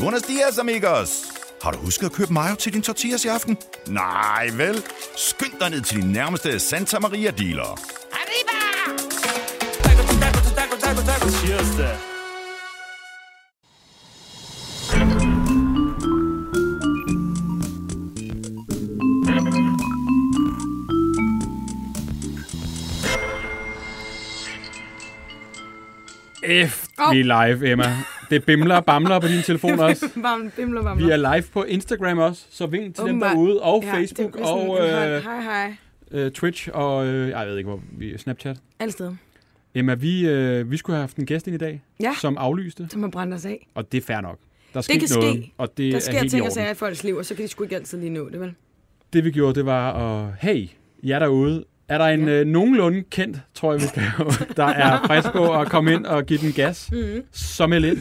Buenos dias, amigos! Har du husket at købe mayo til din tortillas i aften? Nej, vel? Skynd dig ned til din nærmeste Santa Maria dealer. Cheers da. F, vi er live, Emma. Det bimler og bamler på din telefon også. Bam, bimler, bamler. Vi er live på Instagram også, så vink til oh Oh dem my- derude, og Ja, ja, det er Facebook, sådan en og hånd. øh, Hej, hej. øh, Twitch, og øh, ej, jeg ved ikke, hvor vi Snapchat. Alle steder. Emma, vi, øh, vi skulle have haft en gæst ind i dag, Ja. som aflyste, Så man brænder os af. og det er fair nok. Der skete kan ske. noget, og det Der er sker helt i ting og orden. sager i folks liv, og så kan de sgu ikke altid lige nå det, vel? Det vi gjorde, det var at, hey, jer derude, er der en øh, nogenlunde kendt, tror jeg, vi skal, der er frisk på at komme ind og give den gas, mm. Mhm. så meld ind.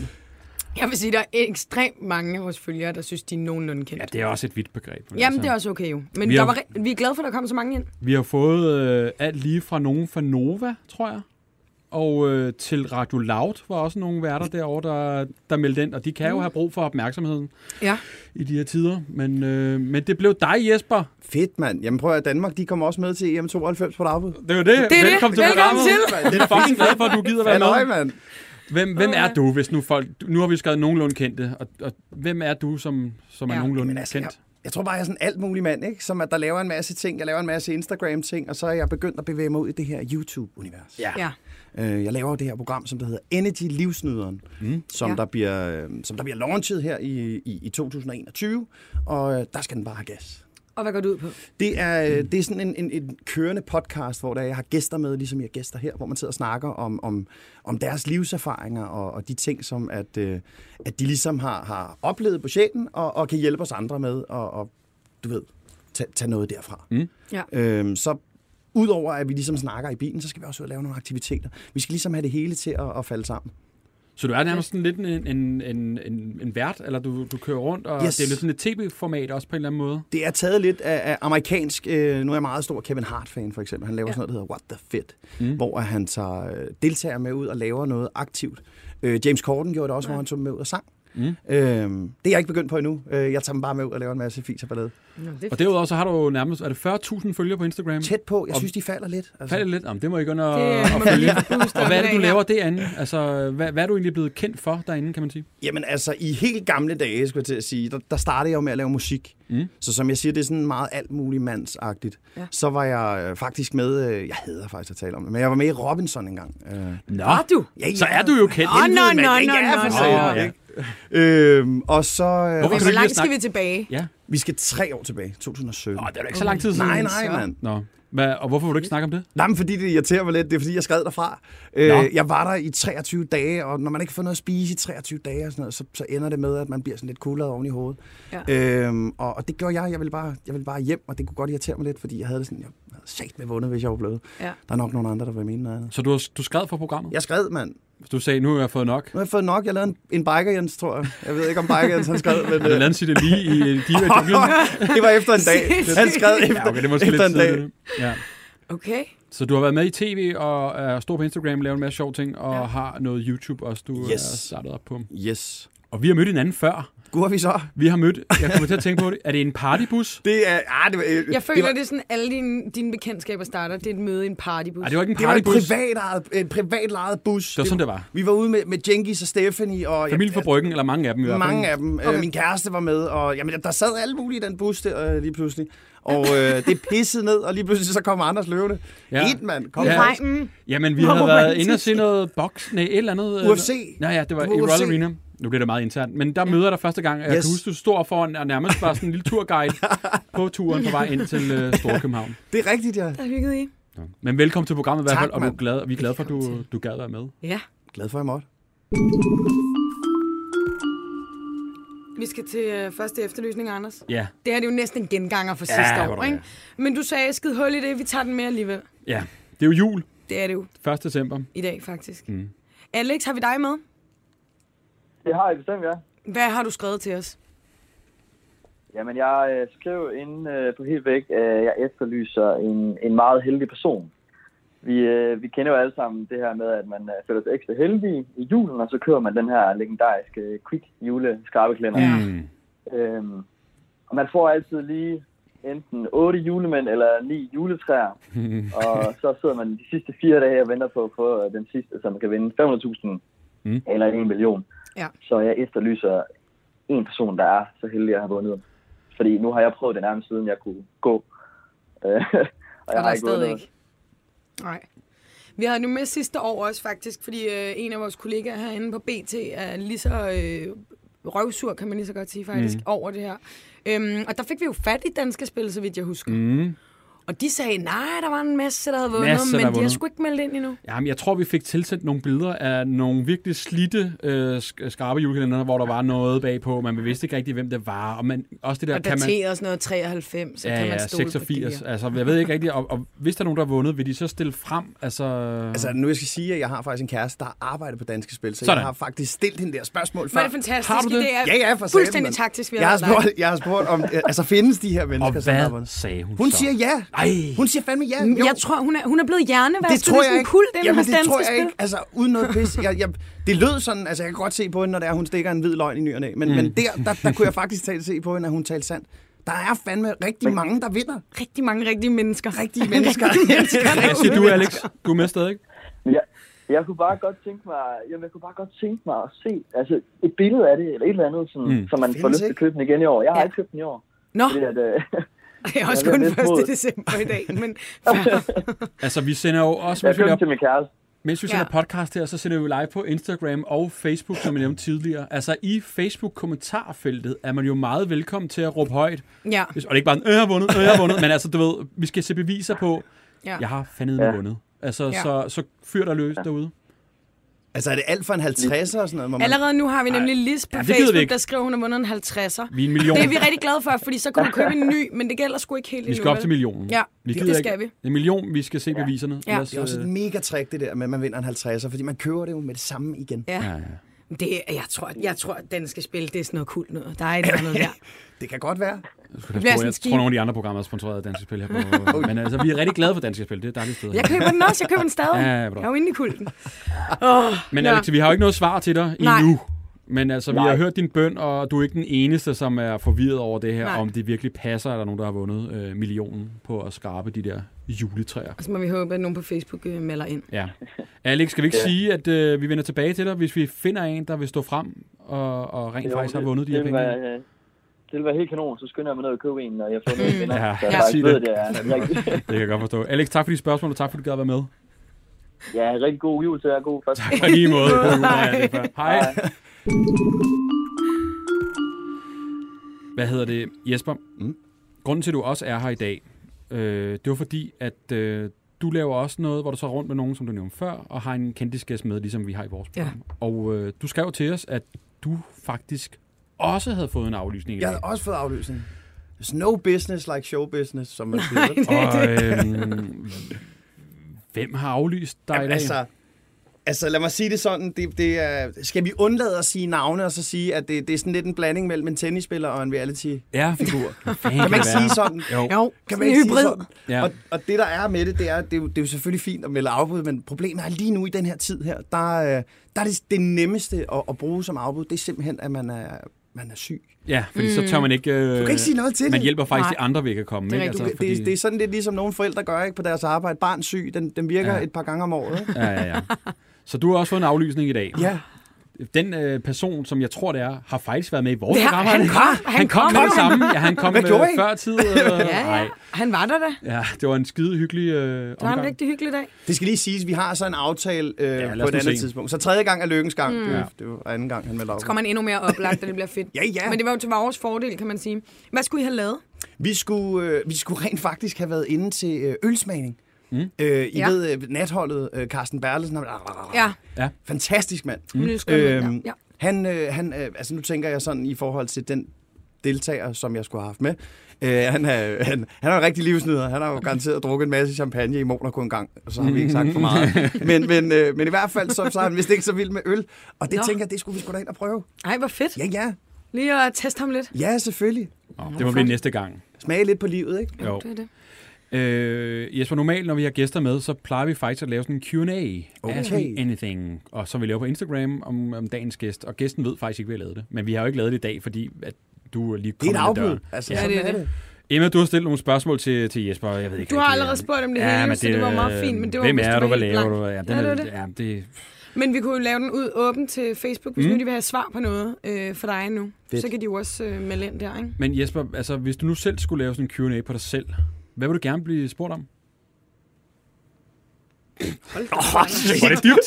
Jeg vil sige, der er ekstremt mange af vores følgere, der synes, de er nogenlunde kendt. Ja, det er også et vidt begreb. men Jamen, det er også okay jo. Men Vi vi, har- der var, re- vi er glade for, at der kom så mange ind. Vi har fået øh, alt lige fra nogen fra Nova, tror jeg, og øh, til Radio Loud var også nogle værter derovre, der, der meldte ind, og de kan jo have brug for opmærksomheden Ja. i de her tider. Men, øh, men det blev dig, Jesper. Fedt, mand. Jamen prøv at høre, Danmark, de kommer også med til EM92 på Darby. Det var det. det. det, Velkommen til Velkommen programmet. til. Det er fucking glad for, at du gider være Halløj, med. mand. Hvem, hvem er du, hvis nu folk... Nu har vi skrevet nogenlunde kendte, og, og hvem er du, som, som er Ja. nogenlunde Men altså, jeg, kendt? jeg tror bare, jeg er sådan alt mulig mand, ikke? Som at der laver en masse ting. Jeg laver en masse Instagram-ting, og så er jeg begyndt at bevæge mig ud i det her YouTube-univers. Ja. Ja. Øh, jeg laver jo det her program, som der hedder Energy Livsnyderen, mm. som, Ja. ja. der bliver, øh, som der bliver launchet her i, i, i 2021, og øh, der skal den bare have gas. Og hvad går du ud på? Det er, øh, det er sådan en, en, en kørende podcast, hvor der, jeg har gæster med, ligesom jeg har gæster her, hvor man sidder og snakker om, om, om deres livserfaringer og, og de ting, som at, øh, at de ligesom har, har oplevet på sjælen og, og kan hjælpe os andre med og, og du ved, tage, tage noget derfra. Mm. Ja. Øhm, så udover at vi ligesom snakker i bilen, så skal vi også ud og lave nogle aktiviteter. Vi skal ligesom have det hele til at, at falde sammen. Så du er nærmest sådan lidt en, en, en, en, en vært, eller du, du kører rundt, og Yes. det er lidt sådan et tv-format også på en eller anden måde. Det er taget lidt af, af amerikansk... Øh, nu er jeg meget stor Kevin Hart-fan, for eksempel. Han laver ja. sådan noget, der hedder What the Fit, mm. hvor at han tager øh, deltager med ud og laver noget aktivt. Øh, James Corden gjorde det også, ja. hvor han tog dem med ud og sang. Mm. Øh, det er jeg ikke begyndt på endnu. Øh, jeg tager dem bare med ud og laver en masse fis og ballade. Nå, det er Og derudover så har du jo nærmest, er det 40.000 følgere på Instagram? Tæt på. Jeg Og- synes, de falder lidt. Altså, Faldet lidt? Jamen, det må I gå ind og, Det og må vi følge. lige booste Og hvad er det, op du i dag, laver derinde? Altså, hvad, hvad er du egentlig blevet kendt for derinde, kan man sige? Jamen altså, i helt gamle dage, skulle jeg til at sige, der, der startede jeg jo med at lave musik. Mm. Så som jeg siger, det er sådan meget alt muligt mandsagtigt. Ja. Ja. Så var jeg øh, faktisk med, øh, jeg hader faktisk at tale om det, men jeg var med i Robinson engang. Øh, Nå, Var du? ja, så er du jo kendt. Nå, nå, nå, nå, Ja, nå, for nå. satan, Nå, ikke? Øhm, og så... Øh, Hvorfor Men kan du hvor langt ikke lige skal snakke? vi tilbage? Ja. vi skal tre år tilbage, 2017. Nå, det er da ikke så lang tid siden. nej, nej, mand. Nå. Hvad, og hvorfor vil du ikke snakke om det? Nej, men fordi det irriterer mig lidt, det er fordi, jeg skred derfra. Øh, jeg var der i 23 dage, og når man ikke får noget at spise i 23 dage, og sådan noget, så, så ender det med, at man bliver sådan lidt kuldret oven i hovedet. Ja. Øhm, og, og, det gjorde jeg. Jeg ville, bare, jeg ville bare hjem, og det kunne godt irritere mig lidt, fordi jeg havde det sådan, jeg havde sagt med vundet, hvis jeg var blevet. Ja. Der er nok nogle andre, der vil mene noget andet. Så du, har- du skrev for programmet? Jeg skred, mand. Du sagde, nu har jeg fået nok. Nu har jeg fået nok. Jeg lavede en, en biker, Jens, tror jeg. Jeg ved ikke, om biker, Jens, han skred, men... øh, Har du lavet sit lige i Diva i junglen? det var efter en dag. Han skred efter, Ja, okay, det er måske efter lidt en dag. tidligt. Ja. Okay. Så du har været med i tv og er stor på Instagram, laver en masse sjove ting, og Ja. har noget YouTube også, du Yes. yes. er startet op på. Yes. Og vi har mødt hinanden før. Gjorde vi så? Vi har mødt, jeg kommer til at tænke på det, er det en partybus? Det er... Ah, det var, øh, Jeg føler, var, det er sådan, alle dine, dine bekendtskaber starter. Det er et møde i en partybus. Nej, det var ikke en det var en partybus. privat, en privat lejet bus. Det var sådan, det var. Vi var ude med, med Jenkins og Stephanie og... Familie fra Bryggen, eller mange af dem i ja, hvert fald. mange af dem. Okay. Øh, min kæreste var med, og jamen, der sad alle mulige i den bus der øh, lige pludselig. Og øh, det pissede ned, og lige pludselig så kom Anders løvende. Ja. Ja. Et mand, kom I Ja. ja. regnen. Jamen, vi Hvor havde været romantisk. inde og se noget boks, nej, et eller andet. øh, UFC. Nej, ja, det var i Det var UFC. Royal Arena. Nu bliver det meget internt, men der møder der første gang. Jeg Yes. kan huske, du står foran og nærmest var sådan en lille turguide på turen på vej ind til øh, Storkøbenhavn. Det er rigtigt, jeg Der hyggede I. Men velkommen til programmet i hvert Tak, fald, og du er mand. glad, vi er glade for, at du, du gad være med. Ja. er glad for, at jeg måtte. Vi skal til øh, første efterlysning, Anders. Ja, Det her det er jo næsten en genganger fra sidste hvor år, der ikke? Men du sagde, skid hul i det, vi tager den med alligevel. ja. Det er jo jul, Det er det jo 1. december. i dag, faktisk. Mm. Alex, har vi dig med? Det har jeg bestemt, ja. Hvad har du skrevet til os? Jamen, jeg øh, skrev inde øh, på helt væk, øh, jeg efterlyser en, en meget heldig person. vi, øh, vi kender jo alle sammen det her med, at man øh, føler sig ekstra heldig i julen, og så kører man den her legendariske øh, quick jule skrabeklænder. Ja. Øhm, og man får altid lige enten otte julemænd eller ni juletræer, og så sidder man de sidste fire dage og venter på at få øh, den sidste, som kan vinde 500.000 Mm. mm. eller en million. Ja. Så jeg efterlyser en person, der er så heldig at have vundet. Fordi nu har jeg prøvet det nærmest siden jeg kunne gå. Øh, og Og der er vundet stadig noget. ikke. Nej. Vi havde nu med sidste år også faktisk, fordi øh, en af vores kollegaer herinde på BT er lige så øh, røvsur, kan man lige så godt sige faktisk, mm. over det her. Øhm, og der fik vi jo fat i danske spil, så vidt jeg husker. Mm. Og de sagde, nej, der var en masse, der havde vundet, Masse, der men de har vundet. sgu ikke meldt ind endnu. Jamen, jeg tror, vi fik tilsendt nogle billeder af nogle virkelig slitte øh, sk- skarpe julekalender, hvor der var noget bagpå, men vi vidste ikke rigtig, hvem det var. Og man, også det der, Og kan man... dateret og sådan noget 93, så Ja, kan man ja, stole på det 86. her. Altså, jeg ved ikke rigtigt, og, og hvis der er nogen, der har vundet, vil de så stille frem? Altså, Altså, nu jeg skal sige, at jeg har faktisk en kæreste, der arbejder på Danske Spil, så Sådan. Sådan. jeg har faktisk stillet hende der spørgsmål Men før. det er fantastisk. Har du det? Det er Ja, ja, for satan, fuldstændig mand. taktisk, vi jeg har, lavet dig. spurgt, jeg har spurgt om, altså findes de her og mennesker, som har hvad vundet? sagde hun Hun så? siger ja. Ej. Hun siger fandme ja. Men Jo. Jeg tror, hun er, hun er blevet hjernevasket. det tror jeg ikke. Pult, det, Jamen, Jamen, det tror jeg ikke. Altså, uden noget pis. Jeg, jeg, det lød sådan, altså jeg kan godt se på hende, når det er, hun stikker en hvid løgn i ny og næ, men, mm. men der, der, der kunne jeg faktisk tale, se på hende, at hun talte sandt. Der er fandme rigtig mange, der vinder. Rigtig mange rigtige mennesker. Rigtige mennesker. Hvad siger du, Alex? Du er med stadig? Ja, jeg kunne bare godt tænke mig, jamen, jeg kunne bare godt tænke mig at se altså, et billede af det, eller et eller andet, sådan, Mm. mm. så man får Findes lyst til at købe den igen i år. Jeg har Ja. ikke købt den i år. Nå, Fordi at, øh, det er også jeg er kun lidt 1. mod. december i dag, men Altså, vi sender jo også, jeg mens vi købte den laver, til min kæreste. mens vi Ja. sender podcast her, så sender vi jo live på Instagram og Facebook, som jeg nævnte tidligere. Altså, i Facebook-kommentarfeltet er man jo meget velkommen til at råbe højt. ja. Hvis- Og det er ikke bare, en, øh, jeg har vundet, øh, jeg har vundet. Men altså, du ved, vi skal se beviser på, ja. jeg har fandme Ja. vundet. Altså, Ja. så, så fyr der løs derude. altså, er det alt for en 50'er og sådan noget? Hvor man, Allerede nu har vi nemlig Lis på Ja, det gider vi Facebook, ikke. der skriver, hun har vundet en 50'er. Vi er en million. Det er vi rigtig glade for, fordi så kunne du købe en ny, men det gælder sgu ikke helt Vi skal endnu, op til vel? millionen. Ja, vi det gider skal ikke. vi. En million, vi skal se beviserne. øh, Ja. det er også et mega trick, det der med, at man vinder en 50'er, fordi man køber det jo med det samme igen. Ja. Det, er- jeg tror, jeg tror, at den skal spille, det er sådan noget kult noget. Der er et eller andet der. Det kan godt være. Jeg, bliver tror, sådan jeg tror, skib. nogle af de andre programmer er sponsoreret af Danske Spil her på. men altså, vi er rigtig glade for Danske Spil. Det er et dejligt sted. Jeg køber den også, jeg køber den stadig. Ja, ja, bra. jeg er jo inde i kulten. Oh, Men Alex, vi har jo ikke noget svar til dig Nej. endnu. Men altså, vi Nej. har hørt din bøn, og du er ikke den eneste, som er forvirret over det her, Nej. om det virkelig passer, at der er nogen, der har vundet øh, millionen på at skrabe de der juletræer. Så må vi håbe, at nogen på Facebook øh, melder ind. Ja. Alex, skal vi ikke sige, at øh, vi vender tilbage til dig, hvis vi finder en, der vil stå frem og, og rent faktisk har vundet de her det, det, penge? var, øh, det ville være helt kanon, så skynder jeg mig ned og købe en, når jeg får noget Mm. vinder. Ja, så ja. jeg Sig faktisk ved, det. at det er en rigtig, Det kan jeg godt forstå. Alex, tak for de spørgsmål, og tak for, at du gad at være med. ja, en rigtig god jul til jer. God første. På lige måde. God jul, ja, det er fair. Hej. Hej. Hvad hedder det, Jesper? Mm. Grunden til, at du også er her i dag, øh, det var fordi, at øh, du laver også noget, hvor du så er rundt med nogen, som du nævnte før, og har en kendtisgæst med, ligesom vi har i vores Ja. program. Og øh, du skrev til os, at du faktisk også havde fået en aflysning i Jeg dag. havde også fået afløsning. There's no business like show business, som man siger. vel? Og øh, hvem har aflyst dig i dag? altså, altså, lad mig sige det sådan. Det, det er, skal vi undlade at sige navne og så sige, at det, det er sådan lidt en blanding mellem en tennisspiller og en reality? Ja, figur. Kan man ikke sige sådan? Jo. Jo, Kan sådan man en ikke hybrid. sige sådan? Ja. Og, og det, der er med det, det er, det er, jo, det er jo selvfølgelig fint at melde afbud, men problemet er lige nu i den her tid her, der, øh, der er det, det nemmeste at, at bruge som afbud, det er simpelthen, at man er, man er syg. Ja, fordi så tør man ikke... Øh, du kan ikke sige noget til Man det. hjælper faktisk Mm. Nej. de andre væk at komme. Det er ikke? Altså, rigtigt. Det, fordi... det, det er sådan lidt ligesom nogle forældre gør ikke på deres arbejde. Barn syg, den, den virker Ja. ja. et par gange om året. Ikke? Ja, ja, ja. Så du har også fået en aflysning i dag. Ja. Den øh, person, som jeg tror, det er, har faktisk været med i vores Ja, program. har han ikke? kom. han, kom, med det samme. Ja, han kom Hvad øh, gjorde I? før tid. Øh, Ja, nej. ja. Han var der da. ja, det var en skide hyggelig øh, Det var en omgang. rigtig hyggelig dag. Det skal lige siges, vi har så en aftale øh, lad ja, os på et nu andet se. tidspunkt. Så tredje gang er lykkens gang. Mm. Det, Ja. var- det var anden gang, han meldte Så afbud. kommer han endnu mere oplagt, og det bliver fedt. Ja, ja. Men det var jo til vores fordel, kan man sige. Hvad skulle I have lavet? Vi skulle, øh, vi skulle rent faktisk have været inde til øh, ølsmagning. Mm. Øh, I Ja. ja. ved, øh, natholdet, øh, Carsten Berlesen. Han, Ja, Fantastisk mand. mm. Øhm, ja. Han, øh, han øh, altså nu tænker jeg sådan i forhold til den deltager, som jeg skulle have haft med. Øh, han, er, han, han er en rigtig livsnyder. Han har jo garanteret drukket en masse champagne i Monaco en gang, og så har vi ikke sagt for meget. Men, men, øh, men i hvert fald, så, så er han vist ikke så vild med øl. Og det Nå. Nå. tænker jeg, det skulle vi skulle da ind og prøve. Ej, hvor fedt. Ja, ja. Lige at teste ham lidt. Ja, selvfølgelig. Nå, det må blive næste gang. Smage lidt på livet, ikke? Jo. Det er det. Øh, Jesper, normalt når vi har gæster med, så plejer vi faktisk at lave sådan en Q&A. Okay. Ask me anything. Og som vi laver på Instagram om, om dagens gæst. Og gæsten ved faktisk ikke, vi har lavet det. Men vi har jo ikke lavet det i dag, fordi at du er lige Det kommet er et ind ad afbud. døren. Altså, Ja. ja, Ja, det sådan er er det. det. Emma, du har stillet nogle spørgsmål til, til Jesper. Jeg ved ikke Du har rigtig, allerede om- spurgt om det Ja, hele, men så det var meget fint, men det var Hvem hvis er du du? var Hvad helt laver blank. du? Ja, den Ja, det er, var det. ja, det, Men vi kunne jo lave den ud åbent til Facebook, hvis mm. nu de vil have svar på noget øh, for dig nu. Fedt. Så kan de jo også øh, melde ind der, ikke? Men Jesper, altså, hvis du nu selv skulle lave sådan en Q&A på dig selv, hvad vil du gerne blive spurgt om? Hold da, oh, det dybt.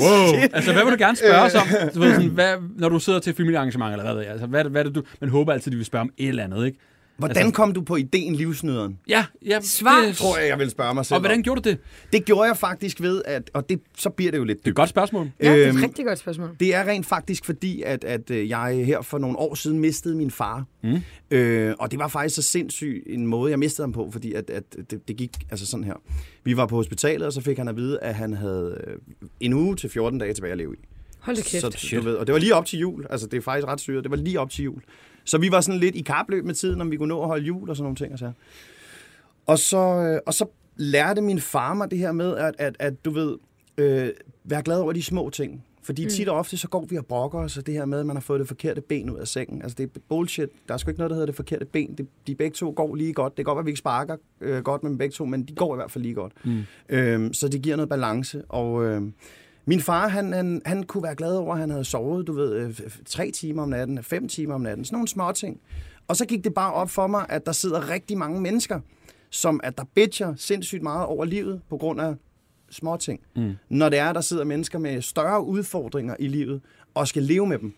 wow. Altså, hvad vil du gerne spørge os om? Du ved, sådan, hvad, når du sidder til et familiearrangement, eller hvad ved jeg, altså, hvad, hvad er det, du... Man håber altid, de vil spørge om et eller andet, ikke? Altså. Hvordan kom du på ideen livsnyderen? Ja, ja. Svar. det- Tror jeg, jeg vil spørge mig selv. Og hvordan om. gjorde du det? Det gjorde jeg faktisk ved, at, og det, så bliver det jo lidt Det er et godt spørgsmål. Ja, det er Øhm, et rigtig godt spørgsmål. Det er rent faktisk fordi, at, at øh, jeg her for nogle år siden mistede min far. Mm. Øh, og det var faktisk så sindssyg en måde, jeg mistede ham på, fordi at, at det, det gik altså sådan her. Vi var på hospitalet, og så fik han at vide, at han havde øh, en uge til 14 dage tilbage at leve i. Hold da kæft. Så, du ved, og det var lige op til jul. Altså, det er faktisk ret syret. Det var lige op til jul. Så vi var sådan lidt i kapløb med tiden, om vi kunne nå at holde jul og sådan nogle ting. Og så, og så, øh, og så lærte min far mig det her med, at, at, at du ved, øh, være glad over de små ting. Fordi mm. tit og ofte, så går vi og brokker os, og det her med, at man har fået det forkerte ben ud af sengen. Altså, det er bullshit. Der er sgu ikke noget, der hedder det forkerte ben. De, de begge to går lige godt. Det kan godt være, at vi ikke sparker øh, godt med dem begge to, men de går i hvert fald lige godt. Mm. Øhm, så det giver noget balance. Og øh, min far, han, han, han kunne være glad over, at han havde sovet, du ved, øh, f- tre timer om natten, fem timer om natten. Sådan nogle små ting. Og så gik det bare op for mig, at der sidder rigtig mange mennesker, som at der bitcher sindssygt meget over livet på grund af små ting. Mm. Når det er, der sidder mennesker med større udfordringer i livet og skal leve med dem.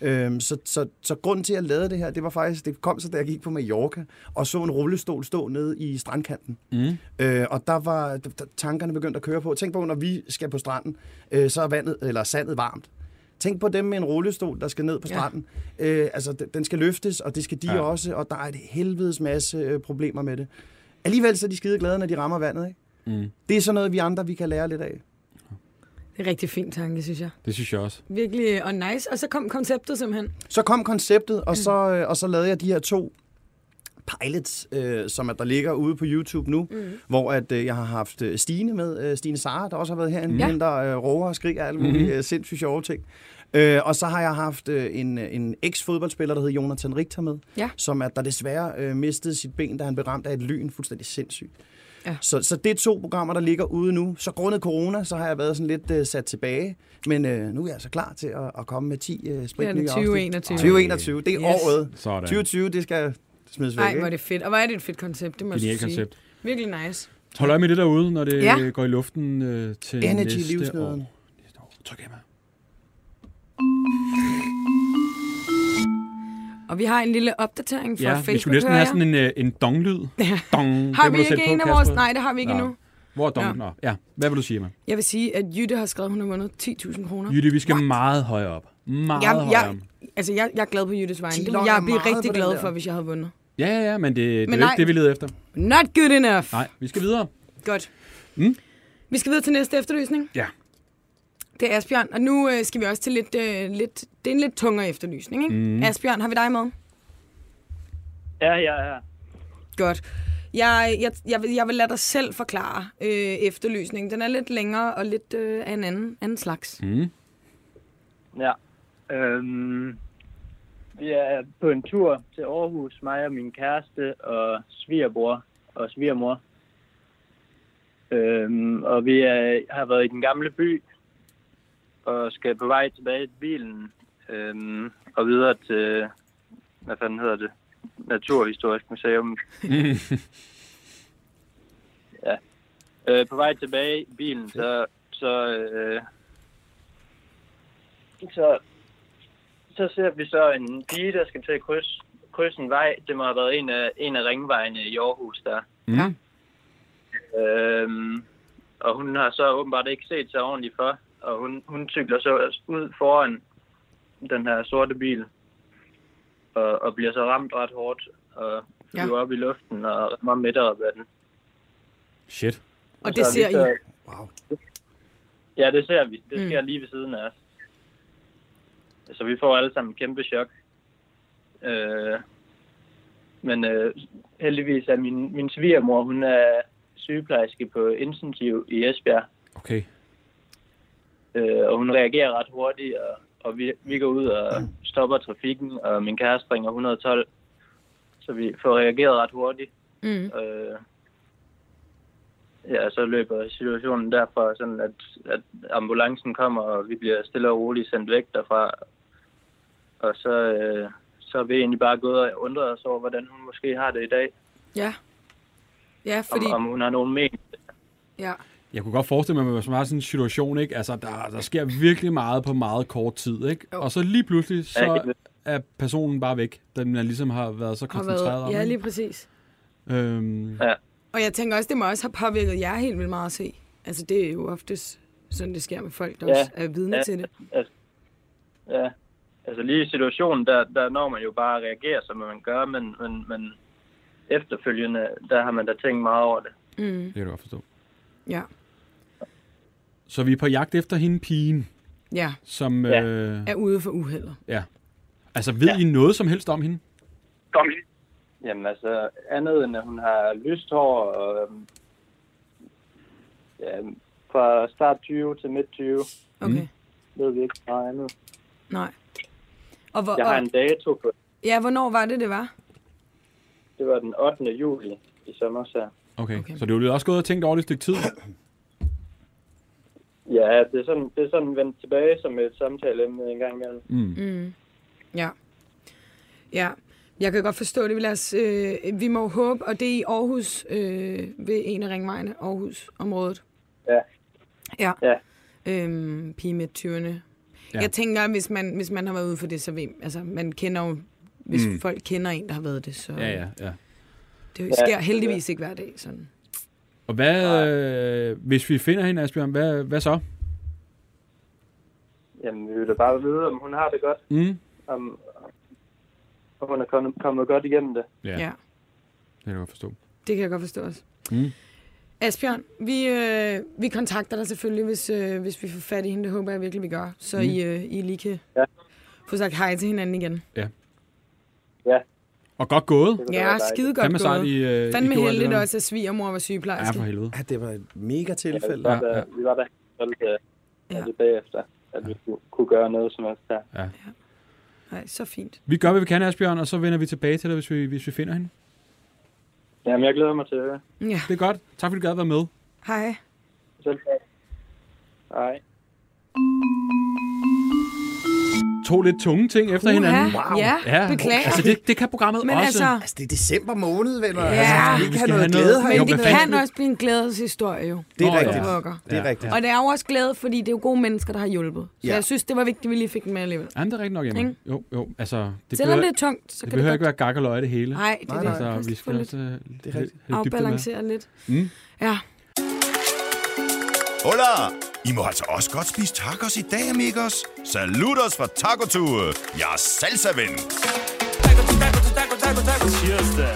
Øhm, så, så, så grunden til, at jeg lavede det her, det var faktisk, det kom så, da jeg gik på Mallorca og så en rullestol stå nede i strandkanten. Mm. Øh, og der var d- d- tankerne begyndt at køre på. Tænk på, når vi skal på stranden, øh, så er vandet, eller sandet varmt. Tænk på dem med en rullestol, der skal ned på Ja. stranden. Ja. Øh, altså, d- den skal løftes, og det skal de ja. også, og der er et helvedes masse øh, problemer med det. Alligevel så er de skide glade, når de rammer vandet, ikke? Mm. Det er sådan noget, vi andre, vi kan lære lidt af. Det er en rigtig fin tanke, synes jeg. Det synes jeg også. Virkelig øh, og nice. Og så kom konceptet simpelthen. Så kom konceptet, Mm. og så, øh, og så lavede jeg de her to pilots, øh, som at der ligger ude på YouTube nu, mm. hvor at øh, jeg har haft øh, Stine med, øh, Stine Sara, der også har været herinde, mm. Ja. hende der øh, råber og skriger alle mulige mm. øh, sindssygt sjove ting. Øh, og så har jeg haft øh, en, øh, en eks-fodboldspiller, der hed Jonathan Richter med, Ja. som at der desværre øh, mistede sit ben, da han blev ramt af et lyn, fuldstændig sindssygt. Ja. Så, så det er to programmer, der ligger ude nu. Så grundet corona, så har jeg været sådan lidt øh, sat tilbage, men øh, nu er jeg så klar til at, at komme med 10 øh, Det er sprit det nye afsnit. 2021. 2021, det Yes. er yes. året. Sådan. 2020, det skal smides væk. Nej, hvor er ikke? det fedt. Og hvor er det et fedt koncept, det må jeg Genialt sige. koncept. Virkelig nice. Hold øje med det derude, når det Ja. ja. går i luften øh, til Energy næste livsnødderen. år. Næste år. Tryk af mig. Og vi har en lille opdatering fra Ja, Facebook, vi skulle næsten hører have jeg. sådan en, øh, en dong-lyd. Dong. Har Den må vi du ikke sætte på, en af Kasper. vores? Nej, det har vi ikke Nå. endnu. Hvor er dongen? Nå. Ja. ja. Hvad vil du sige, mig? Jeg vil sige, at Jytte har skrevet, at hun har vundet 10.000 kroner. Jytte, vi skal What? meget højere op. Meget Jeg, højere jeg, op. altså, jeg, jeg er glad på Jyttes vegne. Det Ti ville løg er jeg blive meget rigtig på den glad der. for, hvis jeg havde vundet. Ja, ja, ja, men det, det er Men jo nej. ikke det, vi leder efter. Not good enough. Nej, vi skal videre. Godt. Mm. Vi skal videre til næste efterlysning. Ja. Det er Asbjørn, og nu øh, skal vi også til lidt, øh, lidt... Det er en lidt tungere efterlysning, ikke? Mm. Asbjørn, har vi dig med? Ja, ja, ja. Godt. Jeg, jeg, jeg, vil, jeg vil lade dig selv forklare øh, efterlysningen. Den er lidt længere og lidt øh, af en anden, anden slags. Mm. Ja. Øhm, vi er på en tur til Aarhus, mig og min kæreste og svigerbror og svigermor. Øhm, og vi er, har været i den gamle by og skal på vej tilbage til bilen øhm, og videre til, hvad fanden hedder det, Naturhistorisk Museum. ja. Øh, på vej tilbage i bilen, så, så øh, så, så ser vi så en pige, der skal til at krydse, krydse en vej. Det må have været en af, en af ringvejene i Aarhus der. Mm. Ja. Øhm, og hun har så åbenbart ikke set sig ordentligt for. Og hun, hun cykler så ud foran den her sorte bil. Og, og bliver så ramt ret hårdt. Og Ja. flyver op i luften og rammer midt op af den. Shit. Og det Så vi ser I. Wow. Ja, det ser vi. Det sker mm. lige ved siden af os. Så vi får alle sammen kæmpe chok. Øh, Men øh, heldigvis er min, min svigermor, hun er sygeplejerske på intensiv i Esbjerg, Okay. øh, og hun reagerer ret hurtigt, og, og vi, vi går ud og stopper trafikken, og min kæreste ringer 112, så vi får reageret ret hurtigt. Mm. Øh, ja, så løber situationen derfra, sådan at, at ambulancen kommer, og vi bliver stille og roligt sendt væk derfra. Og så, øh, så er vi egentlig bare gået og undret os over, hvordan hun måske har det i dag. Ja. Ja, fordi... Om, om hun har nogen men. Ja. Jeg kunne godt forestille mig, at man var så meget i sådan en situation, ikke? Altså, der, der sker virkelig meget på meget kort tid, ikke? Jo. Og så lige pludselig, Ja, så det- er personen bare væk, den man ligesom har været så Har koncentreret været, om. ja, ikke? lige Mm. præcis. Øhm, Ja, Og jeg tænker også, det må også have påvirket jer helt vildt meget at se. Altså, det er jo oftest sådan, det sker med folk, der Ja. også er vidne Ja. til det. ja. Altså lige i situationen, der, der når man jo bare at reagere, som man gør, men, men, men efterfølgende, der har man da tænkt meget over det. det kan du godt forstå. Ja. Så vi er på jagt efter hende pigen, Ja. som... Ja. Øh, Er ude for uheldet. ja. Altså, ved ja. I noget som helst om hende? Kom lige. Jamen altså, andet end at hun har lyst hår, og, øhm, ja, fra start 20 til midt 20, Okay. Mm. ved vi ikke meget andet. Nej. Og, hvor, Jeg har og en dato på, ja, hvornår var det, det var? det var den 8. juli i sommer, så Okay. Okay. okay. Så det er jo også gået og tænkt over det et stykke tid. ja, det er sådan, det er sådan vendt tilbage som et samtaleemne en gang imellem. Ja. Ja. Jeg kan godt forstå det. Vi, lader os, øh, vi må jo håbe, og det er i Aarhus, øh, ved en af ringvejene, Aarhus-området. Ja. Ja. Ja. Øhm, pige med 20'erne. Ja. Jeg tænker, at hvis man, hvis man har været ude for det, så ved altså, man kender jo, hvis mm. folk kender en, der har været det, så Ja, ja, ja. det sker heldigvis ikke hver dag. Sådan. Og hvad... Øh, hvis vi finder hende, Asbjørn, hvad, hvad så? Jamen, vi vil da bare vide, om hun har det godt, Mm? om, om hun er kommet, kommet godt igennem det. Ja. ja. Det kan jeg godt forstå. Det kan jeg godt forstå også. Mm. Asbjørn, vi, øh, vi kontakter dig selvfølgelig, hvis, øh, hvis vi får fat i hende. Det håber jeg virkelig, vi gør. Så mm. I, øh, I lige kan ja. Ja. få sagt hej til hinanden igen. Ja, Og godt gået. det Ja, var dejligt. skide godt Fandme sejt, I, gået. øh, I Fandme gjorde alt heldigt det der. også, at svigermor var Ja, sygeplejerske. for helvede. Ja, det var et mega Ja, vi tilfælde. var Ja. Ja, ja. der, vi var der stolte af Ja. ja. det bagefter, at vi kunne- kunne gøre noget som helst her. Nej, så fint. Vi gør, hvad vi kan, Asbjørn, og så vender vi tilbage til dig, hvis vi, hvis vi finder hende. Jamen, jeg glæder mig til det. Ja. Det er godt. Tak, fordi du gad at være med. Hej. Selv tak. Hej. To lidt tunge ting efter hinanden. Uha. Ja, Ja, beklager. altså det, det kan programmet Men også. altså, Altså, det er december måned, venner. Ja. Altså, Vi vi skal kan have noget have glæde noget- her. men Jo, det hvad fanden- kan også blive en glædeshistorie jo. Det er Nå, ja. rigtigt. Pokker. Det er rigtigt. Og det er jo også glæde, fordi det er jo gode mennesker, der har hjulpet. Så Ja. jeg synes, det var vigtigt, at vi lige fik den med alligevel. Ja, men det er rigtigt nok, Emma. Ikke? Jo, jo, altså det Selvom behøver, det er tungt, så det kan det behøver ikke godt. være gak og løg det hele. Nej, det er det. altså, Pas vi på skal lidt. også øh, lidt, er rigtigt. lidt dybde med. afbalancere lidt. Mm. Ja, Hola! I må altså også godt spise tacos i dag, amigos. Saludos fra Taco Tue. Jeg er salsa-ven. Tacos, tacos, tacos, tacos, tacos. Cheers da.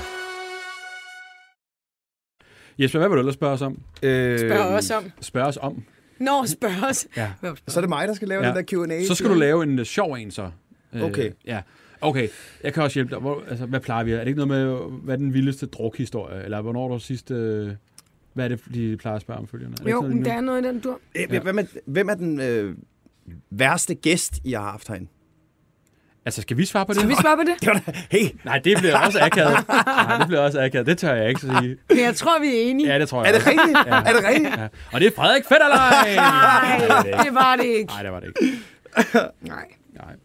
Jesper, hvad vil du ellers spørge os om? Øh, spørg os om. Spørge os om? Nå, spørg os. Øhm. Ja. Hvad var det? Så er det mig, der skal lave Ja. den der Q&A. Så skal du lave en øh, sjov en, så. Øh, Okay. Ja. Okay, jeg kan også hjælpe dig. Hvor, altså, hvad plejer vi? Er det ikke noget med, øh, hvad er den vildeste drukhistorie? Eller hvornår du sidst... Øh, hvad er det, de plejer at spørge om følgerne? Er det Jo, ikke sådan, men nu? der er noget i den dur. Øh, Hvem er, hvem er den øh, værste gæst, I har haft herinde? Altså, skal vi svare på det? Kan vi svare på det? Det var da, hey, Nej, det bliver også akavet. Nej, det bliver også akavet. Det tør jeg ikke så sige. Men jeg tror, vi er enige. Ja, det tror jeg. er det også. rigtigt? Er det rigtigt? Ja. Og det er Frederik Fetterlein! Nej, Nej, det var det ikke. det var det ikke. Nej, Nej. Har-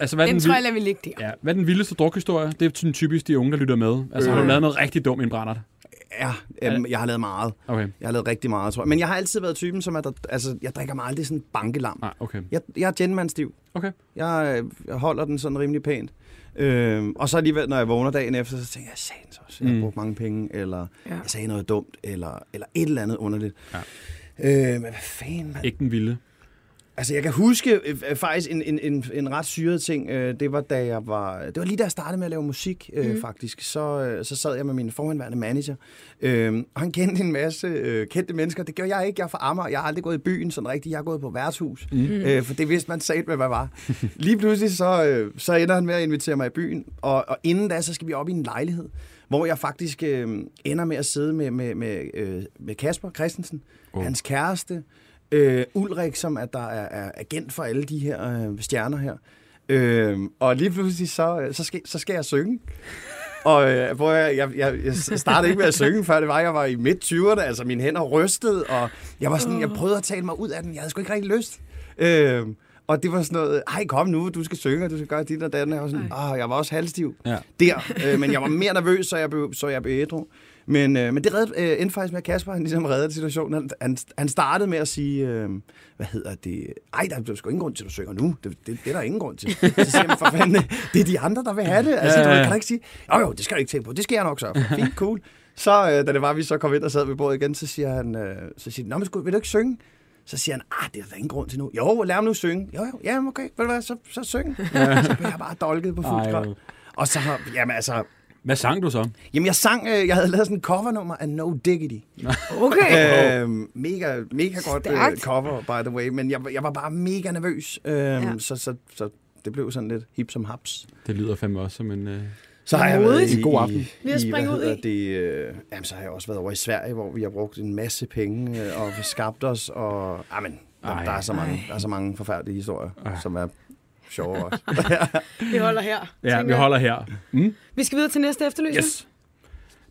Altså, hvad er den den, tror jeg, vild- lader vi ligge der. ja, hvad er den vildeste drukhistorie? Det er sådan typisk de unge, der lytter med. Altså, Øh. har du lavet noget rigtig dumt i en brændert? Ja, øhm, jeg har lavet meget. Okay. Jeg har lavet rigtig meget, tror jeg. Men jeg har altid været typen, som at der, altså, jeg drikker mig aldrig sådan bankelam. Nej, okay. Jeg, jeg er genmandstiv. Okay. Jeg, øh, jeg holder den sådan rimelig pænt. Øhm, og så alligevel, når jeg vågner dagen efter, så tænker jeg, sagde også, jeg har brugt mange penge, eller Ja. ja. jeg sagde noget dumt, eller, eller et eller andet underligt. Ja. Øh, men hvad fanden, mand? Ikke den vilde. Altså, jeg kan huske øh, faktisk en, en, en, en ret syret ting. Øh, det var, da jeg var... Det var lige da jeg startede med at lave musik, øh, mm. faktisk. Så, øh, så sad jeg med min forhenværende manager, øh, og han kendte en masse øh, kendte mennesker. Det gjorde jeg ikke. Jeg er fra Amager. Jeg har aldrig gået i byen sådan rigtigt. Jeg er gået på værtshus. Mm. Øh, for det vidste man sat, hvad man var. lige pludselig, så, øh, så ender han med at invitere mig i byen. Og, og inden da, så skal vi op i en lejlighed, hvor jeg faktisk øh, ender med at sidde med, med, med, øh, med Kasper Christensen, oh. hans kæreste, Øh, Ulrik, som er, der er, er agent for alle de her øh, stjerner her. Øh, og lige pludselig, så, øh, så, skal, så skal jeg synge. Og øh, hvor jeg, jeg, jeg, jeg startede ikke med at synge, før det var, jeg var i midt-20'erne. Altså, mine hænder rystede, og jeg, var sådan, jeg prøvede at tale mig ud af den. Jeg havde sgu ikke rigtig lyst. Øh, og det var sådan noget, ej kom nu, du skal synge, og du skal gøre dit og datten. Jeg var, sådan, Åh, jeg var også halvstiv Ja. ja. der, øh, men jeg var mere nervøs, så jeg blev, så jeg blev ædru. Men, øh, men det reddede, øh, endte faktisk med, at Kasper han ligesom reddede situationen. Han, han, han startede med at sige, øh, hvad hedder det? Ej, der er sgu ingen grund til, at du synger nu. Det, det, det er der ingen grund til. Så siger han, for fanden, det er de andre, der vil have det. Altså, Ja, ja, ja, ja. ja. du kan da ikke sige, jo jo, det skal du ikke tænke på. Det skal jeg nok så. Fint, cool. Så øh, da det var, vi så kom ind og sad ved bordet igen, så siger han, øh, så siger han, Nå, men sgu, vil du ikke synge? Så siger han, ah, det er der ingen grund til nu. Jo, lad ham nu synge. Jo, jo, ja, okay, ved du hvad, så, så syng. så blev jeg bare dolket på fuld Ej, skrald. hvor- Og så har, jamen altså, Hvad sang du så? jamen jeg sang, øh, jeg havde lavet sådan en covernummer af No Diggity. Okay. Øhm, mega, mega godt øh, Stærkt. cover, by the way, men jeg, jeg var bare mega nervøs, øhm, ja. så, så, så det blev sådan lidt hip som haps. Det lyder fandme også som en... Øh... Så har jeg været Modigt. i, En god aften. Lige at i, springe hvad ud hedder i. Det, øh, jamen, så har jeg også været over i Sverige, hvor vi har brugt en masse penge øh, og skabt os. Og, amen, der, Ej. der, er så mange, der er så mange forfærdelige historier, Ej. som er sjove også. Vi holder her. Ja, tænker vi jeg. holder her. Mm? Vi skal videre til næste efterlysning. Yes.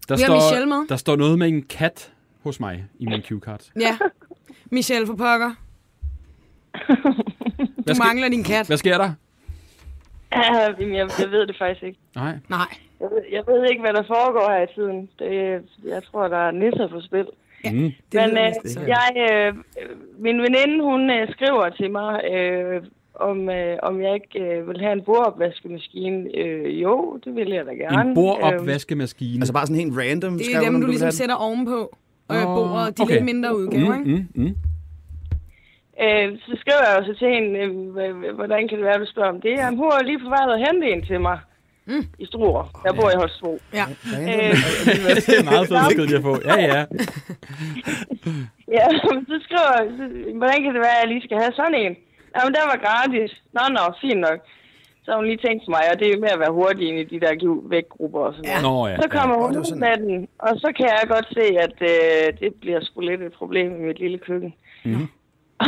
Der Vi har Michelle står, med. der står noget med en kat hos mig i min cue-card. Ja. Michelle for pokker. Du Hvad sker- mangler din kat. Hvad sker der? Uh, jeg, jeg ved det faktisk ikke. Nej. Nej. Jeg ved, jeg ved ikke, hvad der foregår her i tiden. Det, jeg tror, der er nisser på spil. Mm. Det Men lyder øh, næsten sådan. jeg, øh, min veninde, hun øh, skriver til mig, øh, om, øh, om jeg ikke øh, vil have en bordopvaskemaskine. Øh, jo, det vil jeg da gerne. En bordopvaskemaskine. altså bare sådan helt random. Det skrev er du, dem, om du ligesom ville have sætter ovenpå øh, Åh, bordet. De okay. lidt mindre udgaver, ikke? mm, mm, mm. Øh, så skriver jeg jo så til hende, øh, h- h- hvordan kan det være, du spørger om det? Jamen, hun er lige på vej at hente en til mig mm. i Struer. Jeg bor i Holstebro. Ja. Random. Øh, det er meget fedt besked, jeg får. Ja, ja. ja, men så skriver jeg, så, hvordan kan det være, at jeg lige skal have sådan en? Jamen, der var gratis. Nå, nå, fint nok. Så har hun lige tænkt mig, og det er med at være hurtig ind i de der giv væk grupper og sådan noget. Nå ja. Så kommer Åh, hun det var ud sådan. med den, og så kan jeg godt se, at øh, det bliver sgu lidt et problem i mit lille køkken.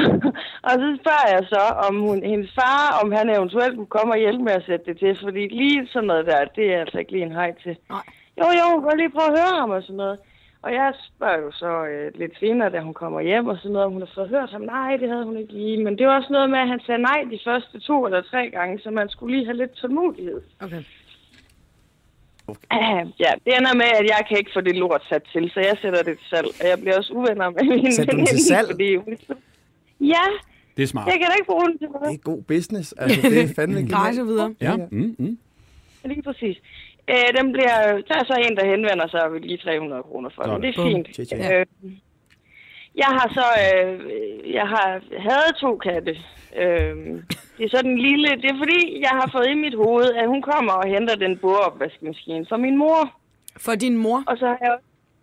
og så spørger jeg så, om hun, hendes far, om han eventuelt kunne komme og hjælpe med at sætte det til, fordi lige sådan noget der, det er altså ikke lige en hej til. Nej. Jo, jo, hun kan lige prøve at høre ham og sådan noget. Og jeg spørger jo så øh, lidt senere, da hun kommer hjem og sådan noget, om hun har fået hørt ham. Nej, det havde hun ikke lige. Men det var også noget med, at han sagde nej de første to eller tre gange, så man skulle lige have lidt tålmodighed. Okay. Ah, Ja, det ender med, at jeg kan ikke få det lort sat til, så jeg sætter det til salg. Og jeg bliver også uvenner med min Satte du den til veninde, salg? Fordi... hun- Ja, Det er smart. jeg kan da ikke bruge den til Det noget. er god business. Altså, det er fandme Gratis genialt. og videre. Ja. Mm, mm. Lige præcis. Øh, den bliver, der er så en, der henvender sig og vil give 300 kroner for den. Sådan. Det er Bum. fint. Tja, tja. Øh, jeg har så, øh, jeg har havde to katte. Øh, det er sådan en lille, det er fordi, jeg har fået i mit hoved, at hun kommer og henter den bordopvaskemaskine fra min mor. For din mor. Og så har jeg